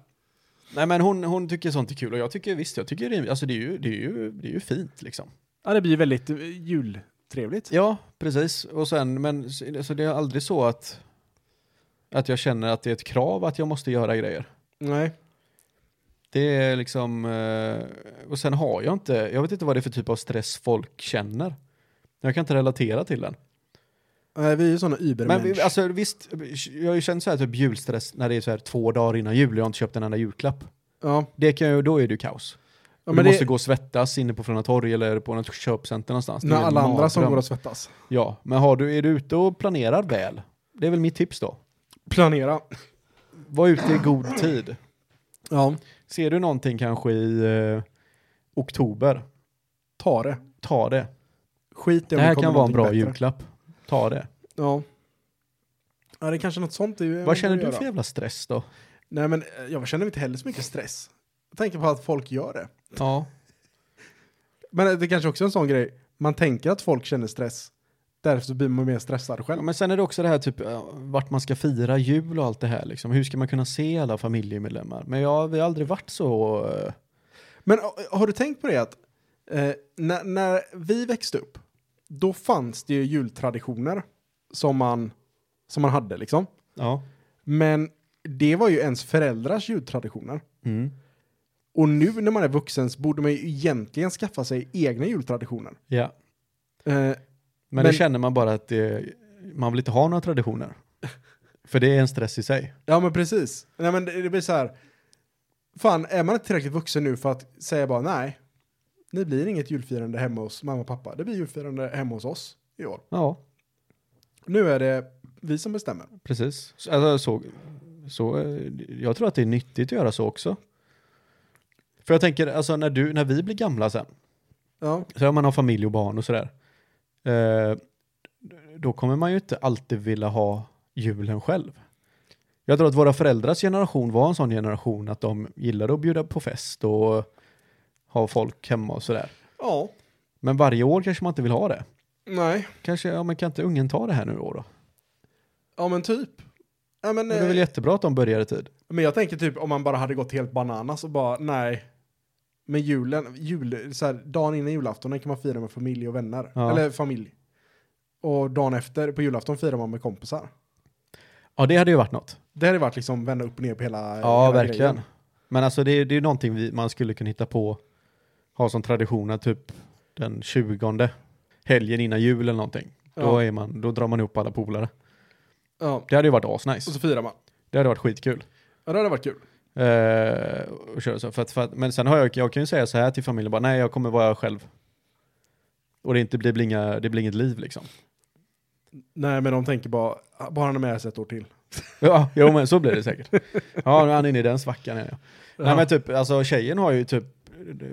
S3: Nej, men hon, hon tycker sånt är kul och jag tycker visst, jag tycker det är, alltså det är ju, det är ju, det är ju fint liksom.
S2: Ja, det blir väldigt eh, jultrevligt.
S3: Ja, precis. Och sen, men s- så det är aldrig så att, att jag känner att det är ett krav att jag måste göra grejer.
S2: Nej.
S3: Det är liksom, eh, och sen har jag inte, jag vet inte vad det är för typ av stress folk känner. Jag kan inte relatera till den.
S2: Nej, vi är ju sådana
S3: Men eh, vi-
S2: übermännisk.
S3: alltså visst, jag har ju känt så här typ julstress när det är så här två dagar innan jul och jag har inte köpt en enda julklapp.
S2: ja.
S3: Det kan ju, då är det ju kaos.
S2: ja,
S3: du
S2: men
S3: måste
S2: det
S3: gå och svettas inne på Frölunda torg eller på något köpcenter någonstans. Det
S2: när
S3: är en
S2: alla andra som
S3: mardröm.
S2: går och svettas.
S3: Ja, men har du, är du ute och planerar väl? Det är väl mitt tips då.
S2: Planera.
S3: Var ute i god tid.
S2: Ja.
S3: Ser du någonting kanske i eh, oktober,
S2: Ta det.
S3: ta det.
S2: Skit i om
S3: det här
S2: kommer
S3: kan vara en
S2: någonting
S3: bra
S2: bättre.
S3: julklapp. Ta det.
S2: Ja. Ja, det är kanske något sånt. Det
S3: Vad känner du för jävla stress då?
S2: Nej, men eh, jag känner inte heller så mycket stress. Jag tänker på att folk gör det.
S3: Ja.
S2: Men eh, det kanske också är en sån grej. Man tänker att folk känner stress. Därför så blir man mer stressad själv.
S3: Ja, men sen är det också det här typ eh, vart man ska fira jul och allt det här liksom. Hur ska man kunna se alla familjemedlemmar? Men ja, vi har aldrig varit så... eh,
S2: Men eh, har du tänkt på det att eh, när, när vi växte upp, då fanns det ju jultraditioner som man, som man hade liksom.
S3: Ja.
S2: Men det var ju ens föräldrars jultraditioner.
S3: Mm.
S2: Och nu när man är vuxen så borde man ju egentligen skaffa sig egna jultraditioner.
S3: Ja.
S2: Eh,
S3: Men,
S2: Men-
S3: det känner man bara att det, man vill inte ha några traditioner. För det är en stress i sig.
S2: ja men precis. Nej men det, det blir så här. Fan, är man inte tillräckligt vuxen nu för att säga bara nej. Det blir inget julfirande hemma hos mamma och pappa. Det blir julfirande hemma hos oss i år.
S3: Ja,
S2: Nu är det vi som bestämmer.
S3: precis. Så- Alltså, så, så, eh, jag tror att det är nyttigt att göra så också. För jag tänker, alltså när, du, när vi blir gamla sen,
S2: Ja,
S3: så om man har familj och barn och sådär, eh, då kommer man ju inte alltid vilja ha julen själv. Jag tror att våra föräldrars generation var en sån generation att de gillade att bjuda på fest och ha folk hemma och sådär.
S2: ja
S3: Men varje år kanske man inte vill ha det.
S2: nej.
S3: Kanske, ja men kan inte ungen ta det här nu då? då?
S2: Ja men typ. Ja, men,
S3: Det är väl
S2: eh,
S3: jättebra att de börjar i tid.
S2: Men jag tänker typ om man bara hade gått helt bananas och bara nej. Men julen, jul, så här, dagen innan julafton den kan man fira med familj och vänner.
S3: Ja.
S2: Eller familj. Och dagen efter, på julafton firar man med kompisar.
S3: Ja, det hade ju varit något.
S2: Det hade varit liksom vända upp och ner på hela
S3: Ja,
S2: hela
S3: verkligen.
S2: grejen.
S3: Men alltså det är det är ju någonting vi, man skulle kunna hitta på, ha som tradition att typ den 20 helgen innan jul eller någonting. Då,
S2: Ja.
S3: är man, då drar man ihop alla polare.
S2: Ja.
S3: Det hade ju varit
S2: Och
S3: asnice.
S2: så firar man.
S3: Det hade varit skitkul.
S2: Ja, det hade varit kul.
S3: Eh, och köra så. För att, för att, men sen har jag, jag kan ju säga så här till familjen, bara, nej jag kommer vara själv. Och det, inte blir, blir inga, det blir inget liv liksom.
S2: Nej, men de tänker bara, bara han är med sig ett år till.
S3: Ja, jo men så blir det säkert. Ja, nu är han inne i den svackan. Är jag. Nej men typ, alltså tjejen har ju typ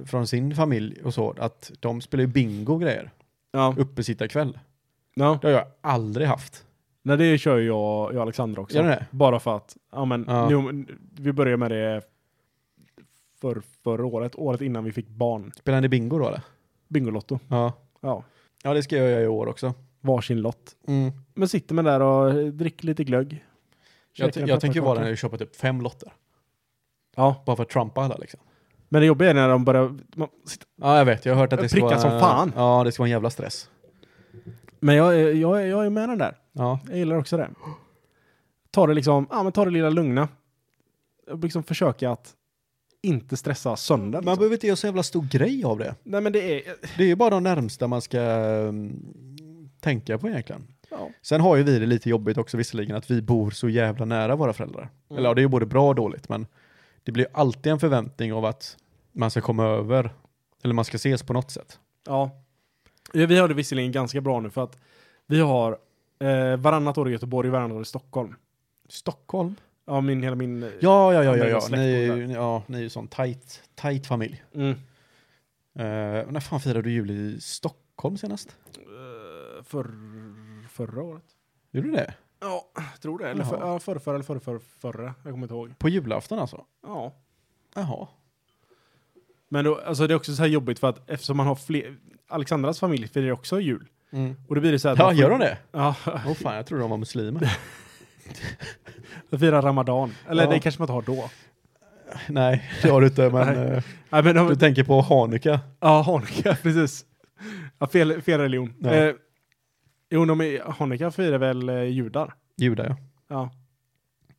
S3: från sin familj och så, att de spelar ju bingo och grejer.
S2: ja.
S3: Uppesittarkväll.
S2: Ja.
S3: Det har jag aldrig haft.
S2: Nej, det kör ju jag, jag och Alexandra också.
S3: Gör ni det?
S2: Bara för att, ja men,
S3: Ja.
S2: Nu, vi började med det för, förra året, året innan vi fick barn.
S3: Spelar ni bingo då eller?
S2: Bingolotto.
S3: Ja.
S2: Ja,
S3: Ja, det ska jag göra i år också. Mm.
S2: varsin lott. Men sitter man där och eh, dricker lite glögg.
S3: Jag,
S2: käkar en
S3: jag tänker vara
S2: pepparkaka.
S3: den och köpa typ fem lotter.
S2: Ja,
S3: Bara för att trumpa alla liksom.
S2: men det jobbiga är när de börjar... Man, sitter-
S3: Ja, jag vet. Jag har hört att det ska
S2: Pricka
S3: vara...
S2: som fan.
S3: Ja, det ska vara en jävla stress.
S2: men jag, är- jag, är- jag är med den där.
S3: Ja.
S2: Jag gillar också det. Ta det liksom, ja men ta det lilla lugna. Och Liksom försöka att inte stressa sönder.
S3: Man
S2: Liksom.
S3: behöver inte göra så jävla stor grej av det.
S2: Nej men det är,
S3: Det är ju bara de närmsta man ska mm, tänka på egentligen.
S2: ja.
S3: Sen har ju vi det lite jobbigt också visserligen att vi bor så jävla nära våra föräldrar. Eller ja, det är ju både bra och dåligt men det blir ju alltid en förväntning av att man ska komma över eller man ska ses på något sätt.
S2: Ja. Ja, Vi har det visserligen ganska bra nu för att vi har eh, varannat år i Göteborg, varannat år i Stockholm.
S3: Stockholm?
S2: Ja, min, hela min... eh,
S3: Ja, ja, ja,
S2: Ja,
S3: ja,
S2: men
S3: ja.
S2: släkt
S3: Ni, är
S2: bor
S3: ju- ja ni är ju sån tight, tight familj.
S2: Mm.
S3: Eh, när fan firade du jul i Stockholm senast?
S2: Eh, Förr- förra året?
S3: Gjorde du det?
S2: Ja, jag tror det. Eller för,
S3: Jaha.
S2: ja, förrförra eller förrförra, förra. Jag kommer inte ihåg.
S3: På julafton alltså?
S2: Ja.
S3: Jaha.
S2: Men då, alltså det är också så här jobbigt för att eftersom man har fler... Alexandras familj firar också jul. Och då blir det så här... att
S3: Ja,
S2: man får-
S3: gör de det?
S2: Ja,
S3: Mm. Åh fan, jag trodde de var muslimer.
S2: de firar ramadan. Eller
S3: Ja.
S2: det kanske man inte har då.
S3: Nej, det har du inte, men
S2: Nej.
S3: eh,
S2: Nej, men de,
S3: du tänker på Hanukkah.
S2: Ja, Hanukkah, precis. Ja, fel, fel religion.
S3: Ja.
S2: Eh, jo, de är, Hanukkah firar väl eh, judar?
S3: Judar ja.
S2: Ja.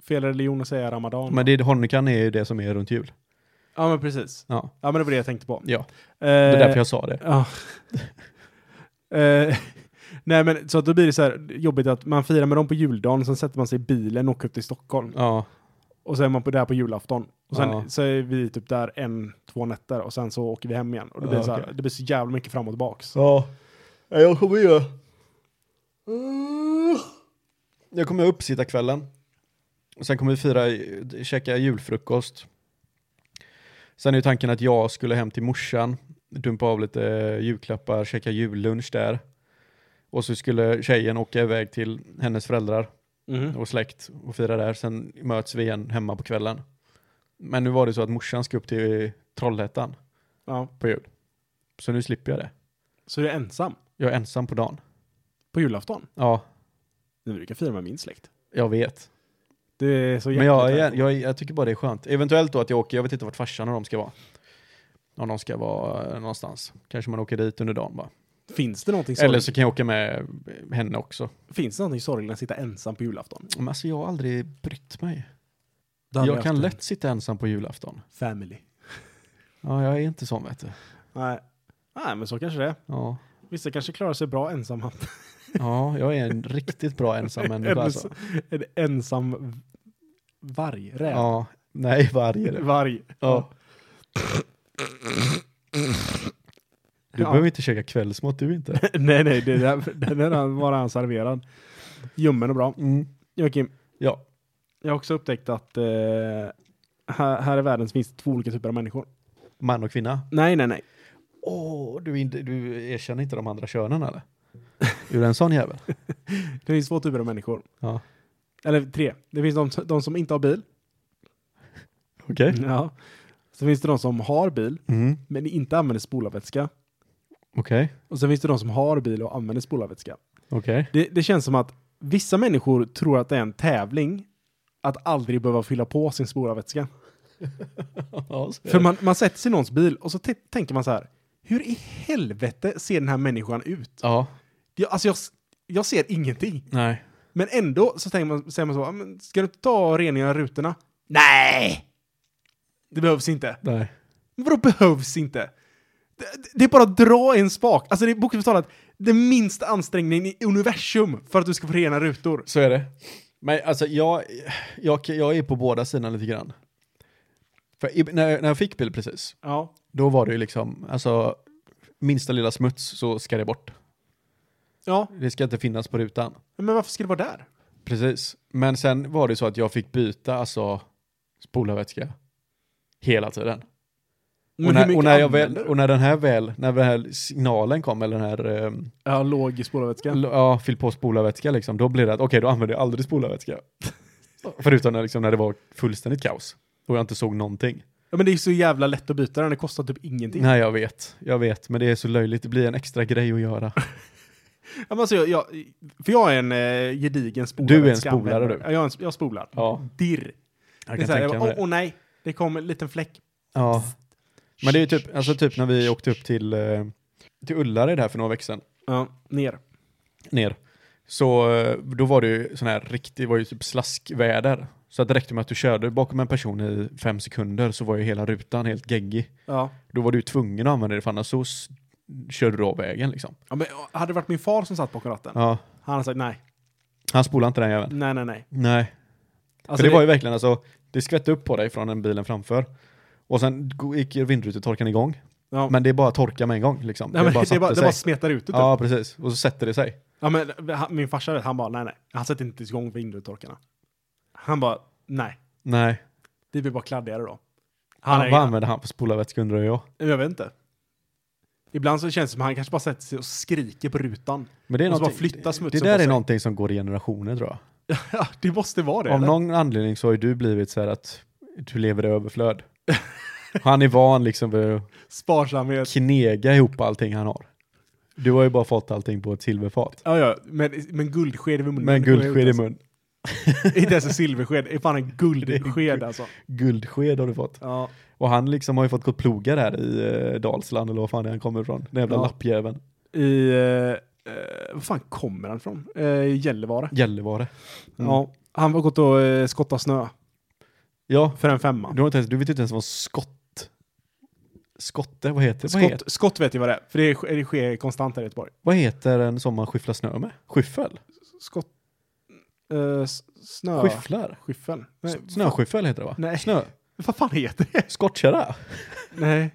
S2: Fel religion att säga ramadan.
S3: Men det, Hanukkah är ju det som är runt jul. Eh,
S2: Ja, men precis.
S3: Ja,
S2: Ja, men det var det jag tänkte på.
S3: ja.
S2: Eh,
S3: det är därför jag sa det.
S2: Ja. eh, nej, men så att då blir det så här jobbigt att man firar med dem på juldagen, sen sätter man sig i bilen och åker upp till Stockholm.
S3: Ja,
S2: Och så är man på, där på julafton. Och sen
S3: Ja.
S2: så är vi typ där en, två nätter och sen så åker vi hem igen. Och det blir,
S3: Ja,
S2: så, här,
S3: okej.
S2: det blir så jävla mycket fram och tillbaka.
S3: Ja. Jag kommer ju... Mm. Jag kommer upp sitta kvällen. Sen kommer vi fira, käka julfrukost. Sen är ju tanken att jag skulle hem till morsan, dumpa av lite eh, julklappar, käka jullunch där. Och så skulle tjejen åka iväg till hennes föräldrar och släkt och fira där. Sen möts vi igen hemma på kvällen. Men nu var det så att morsan ska upp till Trollhättan
S2: Ja.
S3: på jul. Så nu slipper jag det.
S2: Så du är ensam
S3: Jag är ensam på dagen.
S2: på julafton?
S3: Ja,
S2: Vi brukar fira med min släkt.
S3: jag vet.
S2: Det är så
S3: Men jag,
S2: jäkligt här.
S3: jag, jag, jag tycker bara det är skönt. Eventuellt då att jag åker, jag vet inte vart farsan och de ska vara. Om de ska vara eh, någonstans. Kanske man åker dit under dagen bara.
S2: Finns det någonting
S3: Eller
S2: sorgligt?
S3: så kan jag åka med eh, henne också.
S2: Finns det någonting sorgligt än att sitta ensam på julafton?
S3: Men alltså jag har aldrig brytt mig.
S2: Då hade
S3: Jag kan
S2: haft en
S3: lätt sitta ensam på julafton.
S2: Family.
S3: Ja, jag är inte sån vet du.
S2: Nej. Nej, men så kanske det är.
S3: Ja,
S2: Vissa kanske klarar sig bra ensamma.
S3: ja jag är en riktigt bra ensam människa
S2: Eller
S3: alltså.
S2: så- en ensam v- varg. Räv.
S3: Ja, nej varje. det.
S2: Varg.
S3: Ja. Du
S2: Ja.
S3: behöver inte käka kvällsmat, du inte.
S2: nej, nej, det där, den är han- bara han serverad. Ljummen och bra. Joakim,
S3: Mm. Ja,
S2: jag har också upptäckt att eh, här, här i världen finns det två olika typer av människor.
S3: man och kvinna.
S2: Nej, nej, nej.
S3: Åh, du, är inte- du erkänner inte de andra könen eller? Är du en sån jävel?
S2: Det finns två typer av människor.
S3: Ja.
S2: Eller tre. Det finns de, de som inte har bil.
S3: Okej.
S2: Ja. Så finns det de som har bil,
S3: Mm.
S2: men inte använder spolarvätska.
S3: Okej.
S2: Och sen finns det de som har bil och använder spolarvätska.
S3: Okej.
S2: Det, det känns som att vissa människor tror att det är en tävling att aldrig behöva fylla på sin spolarvätska.
S3: Ja, så är
S2: För
S3: det.
S2: man, man sätter sig i någons bil och så t- tänker man så här, hur i helvete ser den här människan ut?
S3: ja.
S2: Jag, alltså jag, s- jag ser ingenting.
S3: Nej.
S2: Men ändå så tänker man, säger man så, "Ah, men ska du inte ta och rengöra rutorna? Nej! Det behövs inte.
S3: Nej.
S2: Men vadå behövs inte? Det, det- det är bara att dra en spak. Alltså det är bokstavligt talat den minsta ansträngningen i universum för att du ska få rena rutor.
S3: Så är det. Men alltså jag, jag, jag är på båda sidorna lite grann. För i, när, jag- när jag fick bil precis,
S2: Ja.
S3: då var det ju liksom, alltså minsta lilla smuts så ska det bort.
S2: Ja,
S3: Det ska inte finnas på rutan.
S2: men varför ska det vara där?
S3: Precis. Men sen var det så att jag fick byta alltså spolarvätska hela tiden.
S2: Men
S3: Och
S2: hur
S3: när,
S2: mycket
S3: och, när jag väl,
S2: använder du?
S3: och när den här väl, när den här signalen kom, eller den här, ehm,
S2: Ja, låg i spolarvätska.
S3: l- ja, fyll på spolarvätska liksom, då blir det att okej, då använder jag aldrig spolarvätska. Förutom när, liksom, när det var fullständigt kaos. Och jag inte såg någonting.
S2: Ja, men det är så jävla lätt att byta den, det kostar typ ingenting.
S3: Nej, jag vet. Jag vet, men det är så löjligt. Det blir en extra grej att göra.
S2: Ja, men alltså, jag, jag, för jag är en eh, gedigen spolare.
S3: Du är en spolare, du.
S2: Ja, jag, är en, jag spolar.
S3: Ja,
S2: Dirr.
S3: jag
S2: Det är
S3: kan
S2: så här, jag
S3: tänka
S2: bara,
S3: mig
S2: åh, åh nej, det kom en liten fläck.
S3: Ja. Men det är ju typ, alltså typ när vi åkte upp till, eh, till Ullared här för några veckor sedan,
S2: Ja, ner.
S3: ner, så eh, då var det ju sån här riktig, det var ju typ slaskväder. Så att det räckte med att du körde bakom en person i fem sekunder så var ju hela rutan helt geggig.
S2: Ja.
S3: Då var du ju tvungen att använda det för annars så s- körde du av vägen liksom.
S2: ja men, ja, hade det varit min far som satt bakom ratten,
S3: Ja,
S2: han hade sagt nej,
S3: han spolade inte den jäveln.
S2: nej, nej, nej.
S3: Nej,
S2: Alltså,
S3: för det var ju verkligen alltså, det skvätte upp på dig från den bilen framför. Och sen g- gick ju vindrutetorkaren igång.
S2: ja.
S3: Men det är bara att torka med en gång liksom.
S2: Nej, men det, bara, det
S3: satte
S2: bara
S3: sig.
S2: smetar ut det. typ.
S3: Ja, precis. Och så sätter det sig.
S2: Ja, men, eh, han, min farsa, han bara, nej, nej. Han sätter inte ens igång vindrutetorkarna. Han bara, nej.
S3: Nej,
S2: Det blir bara kladdigare då.
S3: han
S2: Han är,
S3: vad använder han för spolarvätska undrar jag.
S2: jag vet inte. Ibland så känns det som att han kanske bara sätter sig och skriker på rutan.
S3: Men det är
S2: Och så bara
S3: någonting,
S2: flyttar
S3: det
S2: smutsen
S3: där
S2: på
S3: är
S2: sig.
S3: någonting som går i generationer tror jag.
S2: Ja, det måste vara det.
S3: Av
S2: eller?
S3: någon anledning så har ju du blivit så här att du lever i överflöd. han är van liksom vid att
S2: Sparsamhet.
S3: knega ihop allting han har. Du har ju bara fått allting på ett silverfat.
S2: Ja, ja, men, men guldsked i munnen.
S3: Med en guldsked i
S2: Alltså.
S3: mun.
S2: Inte ens en silversked, det är fan en
S3: Det är en
S2: guldsked alltså.
S3: Guldsked har du fått.
S2: Ja.
S3: Och han liksom har ju fått gå och ploga där i eh, Dalsland eller vad fan det är han kommer ifrån. Den jävla
S2: Ja.
S3: lappjäveln.
S2: I, eh, eh, var fan kommer han ifrån? Eh, Gällivare.
S3: Gällivare. Mm.
S2: Ja, han har gått och eh, skottat snö
S3: Ja,
S2: för en femma.
S3: du, har inte ens, du vet inte ens vad skott... Skotte, vad heter, vad heter,
S2: Skott, skott vet jag vad det är, för det, sk- det sker konstant här i Göteborg.
S3: vad heter en som man skyfflar snö med? Skyffel?
S2: Skott... Eh, s- snö...
S3: Skyfflar?
S2: Skyffel?
S3: S-
S2: Nej,
S3: Snöskyffel heter det va?
S2: Nej.
S3: Snö.
S2: vad fan heter det?
S3: Skottkärra?
S2: Nej.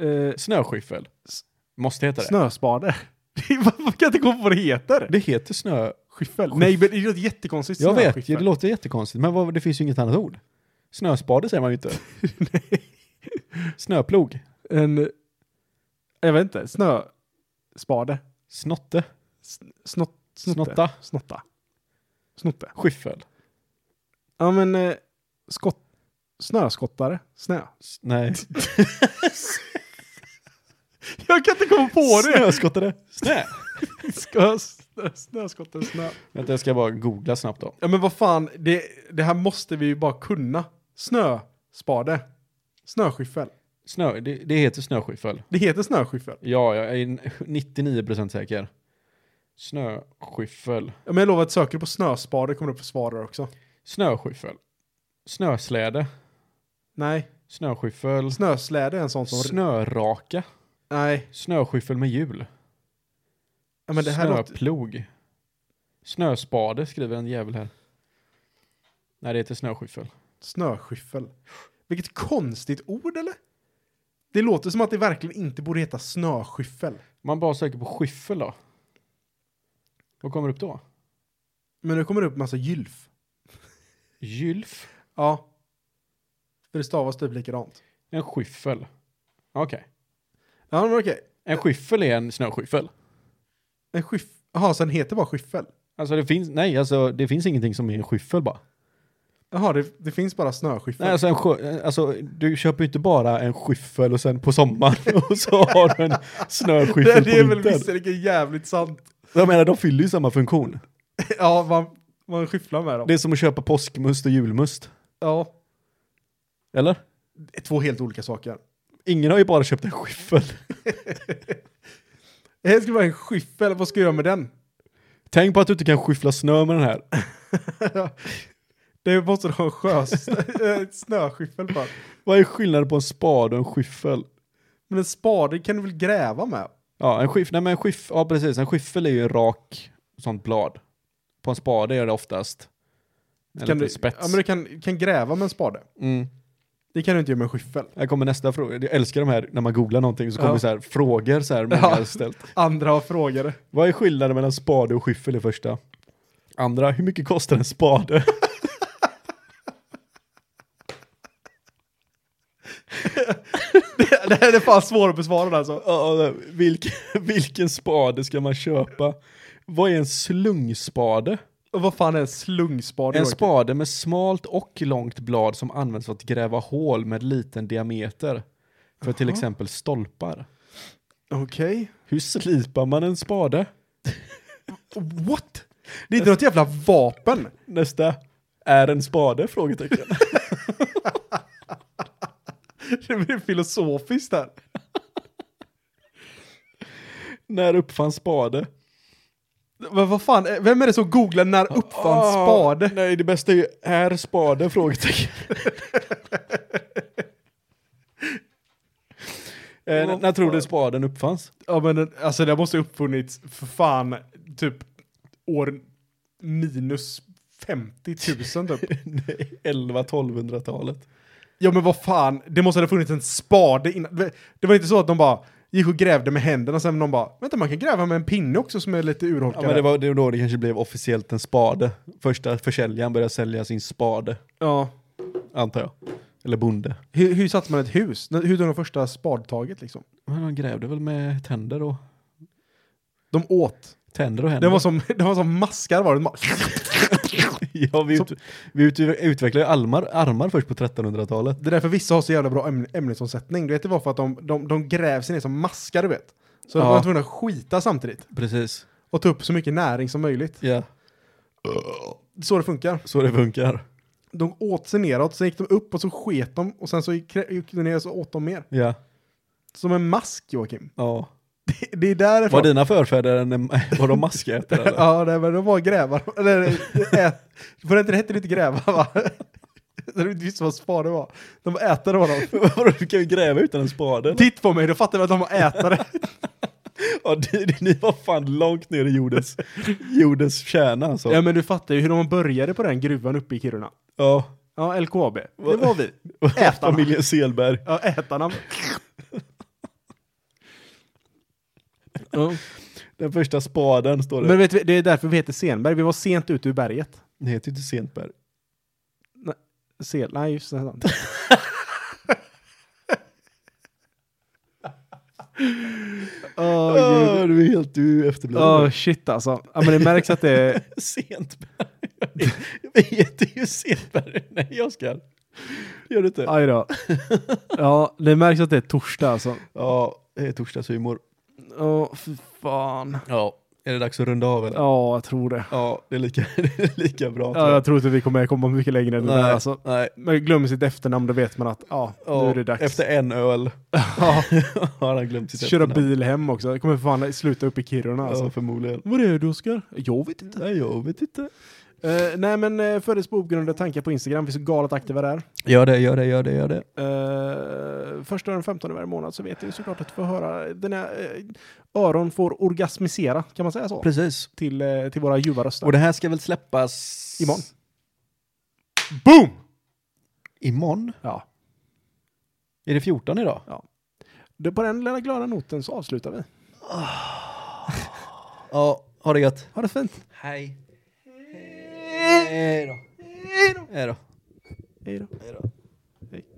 S2: Eh,
S3: Snöskyffel?
S2: S-
S3: Måste heta det.
S2: snöspade. Det är- Varför kan jag inte komma på vad det heter?
S3: Det heter snö.
S2: Skyffel. Nej, men det är ett jättekonstigt
S3: Jag vet,
S2: snöskyffel.
S3: det låter jättekonstigt men vad, det finns ju inget annat ord. Snöspade säger man ju inte. Snöplog?
S2: En... Jag vet inte. Snöspade.
S3: Snotte?
S2: Sn- Snott... Snotte.
S3: Snotta?
S2: Snotta. Snotte.
S3: Skyffel?
S2: Ja, men... Eh, skott... Snöskottare. Snö.
S3: S- Nej.
S2: Jag kan inte komma på det!
S3: Snöskottare? Snö?
S2: Snö, snö, snöskottare. Snö.
S3: Vänta, jag ska bara googla snabbt då.
S2: Ja men vad fan, det, det här måste vi ju bara kunna. Snöspade. Snöskyffel.
S3: Snö, det, det heter snöskyffel.
S2: Det heter snöskyffel.
S3: Ja, jag är 99% säker. Snöskyffel.
S2: Ja, men jag lovar att söker du på snöspade kommer det upp svar där också.
S3: Snöskyffel. Snösläde.
S2: Nej,
S3: Snöskyffel.
S2: snösläde är en sån som...
S3: Snöraka.
S2: Nej,
S3: Snöskyffel med hjul.
S2: ja, men det här låter...
S3: Snöplog. Snöspade skriver en jävel här. Nej, det heter snöskyffel.
S2: Snöskyffel. Vilket konstigt ord eller? Det låter som att det verkligen inte borde heta snöskyffel.
S3: Man bara söker på skyffel då. Vad kommer upp då?
S2: Men nu kommer det upp massa gylf.
S3: Gylf.
S2: Ja. För det stavas typ likadant.
S3: En skyffel. Okej.
S2: Ja men okej.
S3: En skyffel är en snöskyffel.
S2: En skyff... Jaha, så den heter bara skyffel?
S3: Alltså det finns, nej alltså det finns ingenting som är en skyffel bara.
S2: Jaha, det, det finns bara snöskyffel.
S3: Nej alltså, en sjö, alltså du köper ju inte bara en skyffel och sen på sommaren och så har du en
S2: Det,
S3: snöskyffel
S2: det är
S3: på
S2: väl
S3: vintern.
S2: visserligen jävligt sant.
S3: Jag menar de fyller ju samma funktion.
S2: Ja, man, man skyfflar med dem.
S3: Det är som att köpa påskmust och julmust.
S2: ja.
S3: Eller?
S2: Det är två helt olika saker.
S3: Ingen har ju bara köpt en skyffel.
S2: Det här skulle vara en skyffel, vad ska jag göra med den?
S3: Tänk på att du inte kan skyffla snö med den här.
S2: Det måste du ha en sjö, ett snöskyffel för.
S3: Vad är skillnaden på en spade och en skyffel?
S2: Men en spade kan du väl gräva med?
S3: Ja, en skyff, nej men en skyff, ja precis, en skyffel är ju en rak sånt blad. På en spade är det oftast en
S2: Kan
S3: liten
S2: du,
S3: spets.
S2: Ja, men du kan, kan gräva med en spade.
S3: mm.
S2: Det kan du inte göra med en skyffel.
S3: Här kommer nästa fråga. Jag älskar de här när man googlar någonting så
S2: Ja.
S3: kommer det så här frågor så här många
S2: Ja.
S3: har ställt.
S2: Andra har frågor.
S3: Vad är skillnaden mellan spade och skyffel i första? Andra, hur mycket kostar en spade?
S2: det här är fan svårt att besvara alltså.
S3: Ja, vilken, vilken spade ska man köpa? Vad är en slungspade?
S2: Och vad fan är en slungspade?
S3: En
S2: Joakim?
S3: spade med smalt och långt blad som används för att gräva hål med liten diameter. För till
S2: Jaha.
S3: exempel stolpar.
S2: Okej.
S3: Hur slipar man en spade?
S2: What? Det är inte något jävla vapen.
S3: Nästa. Är en spade? Frågetecken.
S2: Det blir filosofiskt här.
S3: När uppfanns spade?
S2: Men vad fan, eh, vem är det som googlar när uppfann
S3: Ah,
S2: spade?
S3: Nej, det bästa är ju är spade? Frågetecken. eh, när- när tror du spaden uppfanns?
S2: Ja men den- alltså det måste ha uppfunnits för fan typ år minus 50 000 typ.
S3: Nej, 11-1200-talet.
S2: ja men vad fan, det måste ha funnits en spade innan. Det var inte så att de bara gick och grävde med händerna sen de bara, vänta man kan gräva med en pinne också som är lite
S3: Ja,
S2: urholkad.
S3: men det var det var då det kanske blev officiellt en spade. Första försäljaren började sälja sin spade,
S2: ja.
S3: antar jag. Eller bonde.
S2: Hur, hur satte man ett hus? När- Hur tog de första spadtaget liksom?
S3: Men han grävde väl med tänder och...
S2: De åt.
S3: Tänder och händer.
S2: Det var som, det var som maskar var det. De bara-
S3: ja, vi ut, vi ut, utvecklade ju almar, armar först på 1300-talet.
S2: Det är därför vissa har så jävla bra ämn- ämnesomsättning. Du vet, det var för att de, de, de gräver sig ner som maskar, du vet. Så de
S3: Ja.
S2: var tvungna att skita samtidigt
S3: Precis.
S2: och ta upp så mycket näring som möjligt.
S3: Ja,
S2: Det är Så det funkar.
S3: så det funkar.
S2: De åt sig neråt, sen gick de upp och så sket de och sen så gick krä- gick de ner och så åt de mer.
S3: Ja.
S2: Som en mask, Joakim.
S3: ja.
S2: Det- Det är därifrån.
S3: Var dina förfäder en, var de maskätare eller?
S2: Ja, nej, men de var grävar. Eller, ät. För det hette det inte gräva, va? Så du visste vad spade var. De var ätare var de.
S3: Vadå, du kan ju gräva utan en spade.
S2: Titt på mig, då fattar jag att de var ätare.
S3: Ja, ni, ni var fan långt ner i jordens, jordens kärna alltså.
S2: Ja, men du fattar ju hur de började på den gruvan uppe i Kiruna.
S3: Ja.
S2: Ja, LKAB. Det var vi. Ätarna.
S3: Familjen Selberg.
S2: Ja, ätarna.
S3: Den första spaden står det.
S2: Men vet vi, det är därför vi heter Senberg. Vi var sent ute ur berget.
S3: Den heter ju inte Sentberg.
S2: Sen, nej, just det. sant. Åh, gud.
S3: Åh, du är helt du är efterbliven.
S2: Åh, shit alltså. Ja, men det märks att det är...
S3: Sentberg. Vi heter ju Sentberg. Nej, Oskar. Det Gör du inte?
S2: Aj då. Ja, det märks att det är torsdag alltså.
S3: Ja, det är torsdagshumor.
S2: Åh, fy fan.
S3: Ja. Är det dags att runda av eller?
S2: Ja, jag tror det.
S3: Ja, det är lika, det är lika bra. tror
S2: Ja,
S3: jag.
S2: jag tror inte vi kommer komma mycket längre än det där
S3: nej,
S2: alltså.
S3: nej.
S2: Men glömmer sitt efternamn, då vet man att ja, nu
S3: Ja,
S2: är det dags.
S3: Efter en öl
S2: Ja,
S3: har han glömt sitt
S2: köra
S3: efternamn.
S2: bil hem också. Jag kommer fan sluta upp i Kiruna alltså.
S3: Ja, förmodligen.
S2: Vad är du Oskar? Jag vet inte.
S3: Nej, jag vet inte.
S2: Eh, nej men uh, föddes på ogrundade tankar på Instagram. Vi är så galet aktiva där.
S3: Gör det, gör det, gör det, gör det.
S2: Eh, första den 15 varje månad så vet ni såklart att få höra dina eh, öron får orgasmisera, kan man säga så?
S3: Precis.
S2: Till, eh, till våra ljuva röster.
S3: Och det här ska väl släppas...
S2: Imorgon. Boom!
S3: Imorgon?
S2: Ja.
S3: Är det 14 idag?
S2: Det, på den lilla glada noten så avslutar vi.
S3: Ja, ha det gött.
S2: Ha det fint.
S3: Hej. Hej då. Hej då.
S2: Hej då.
S3: Hej då.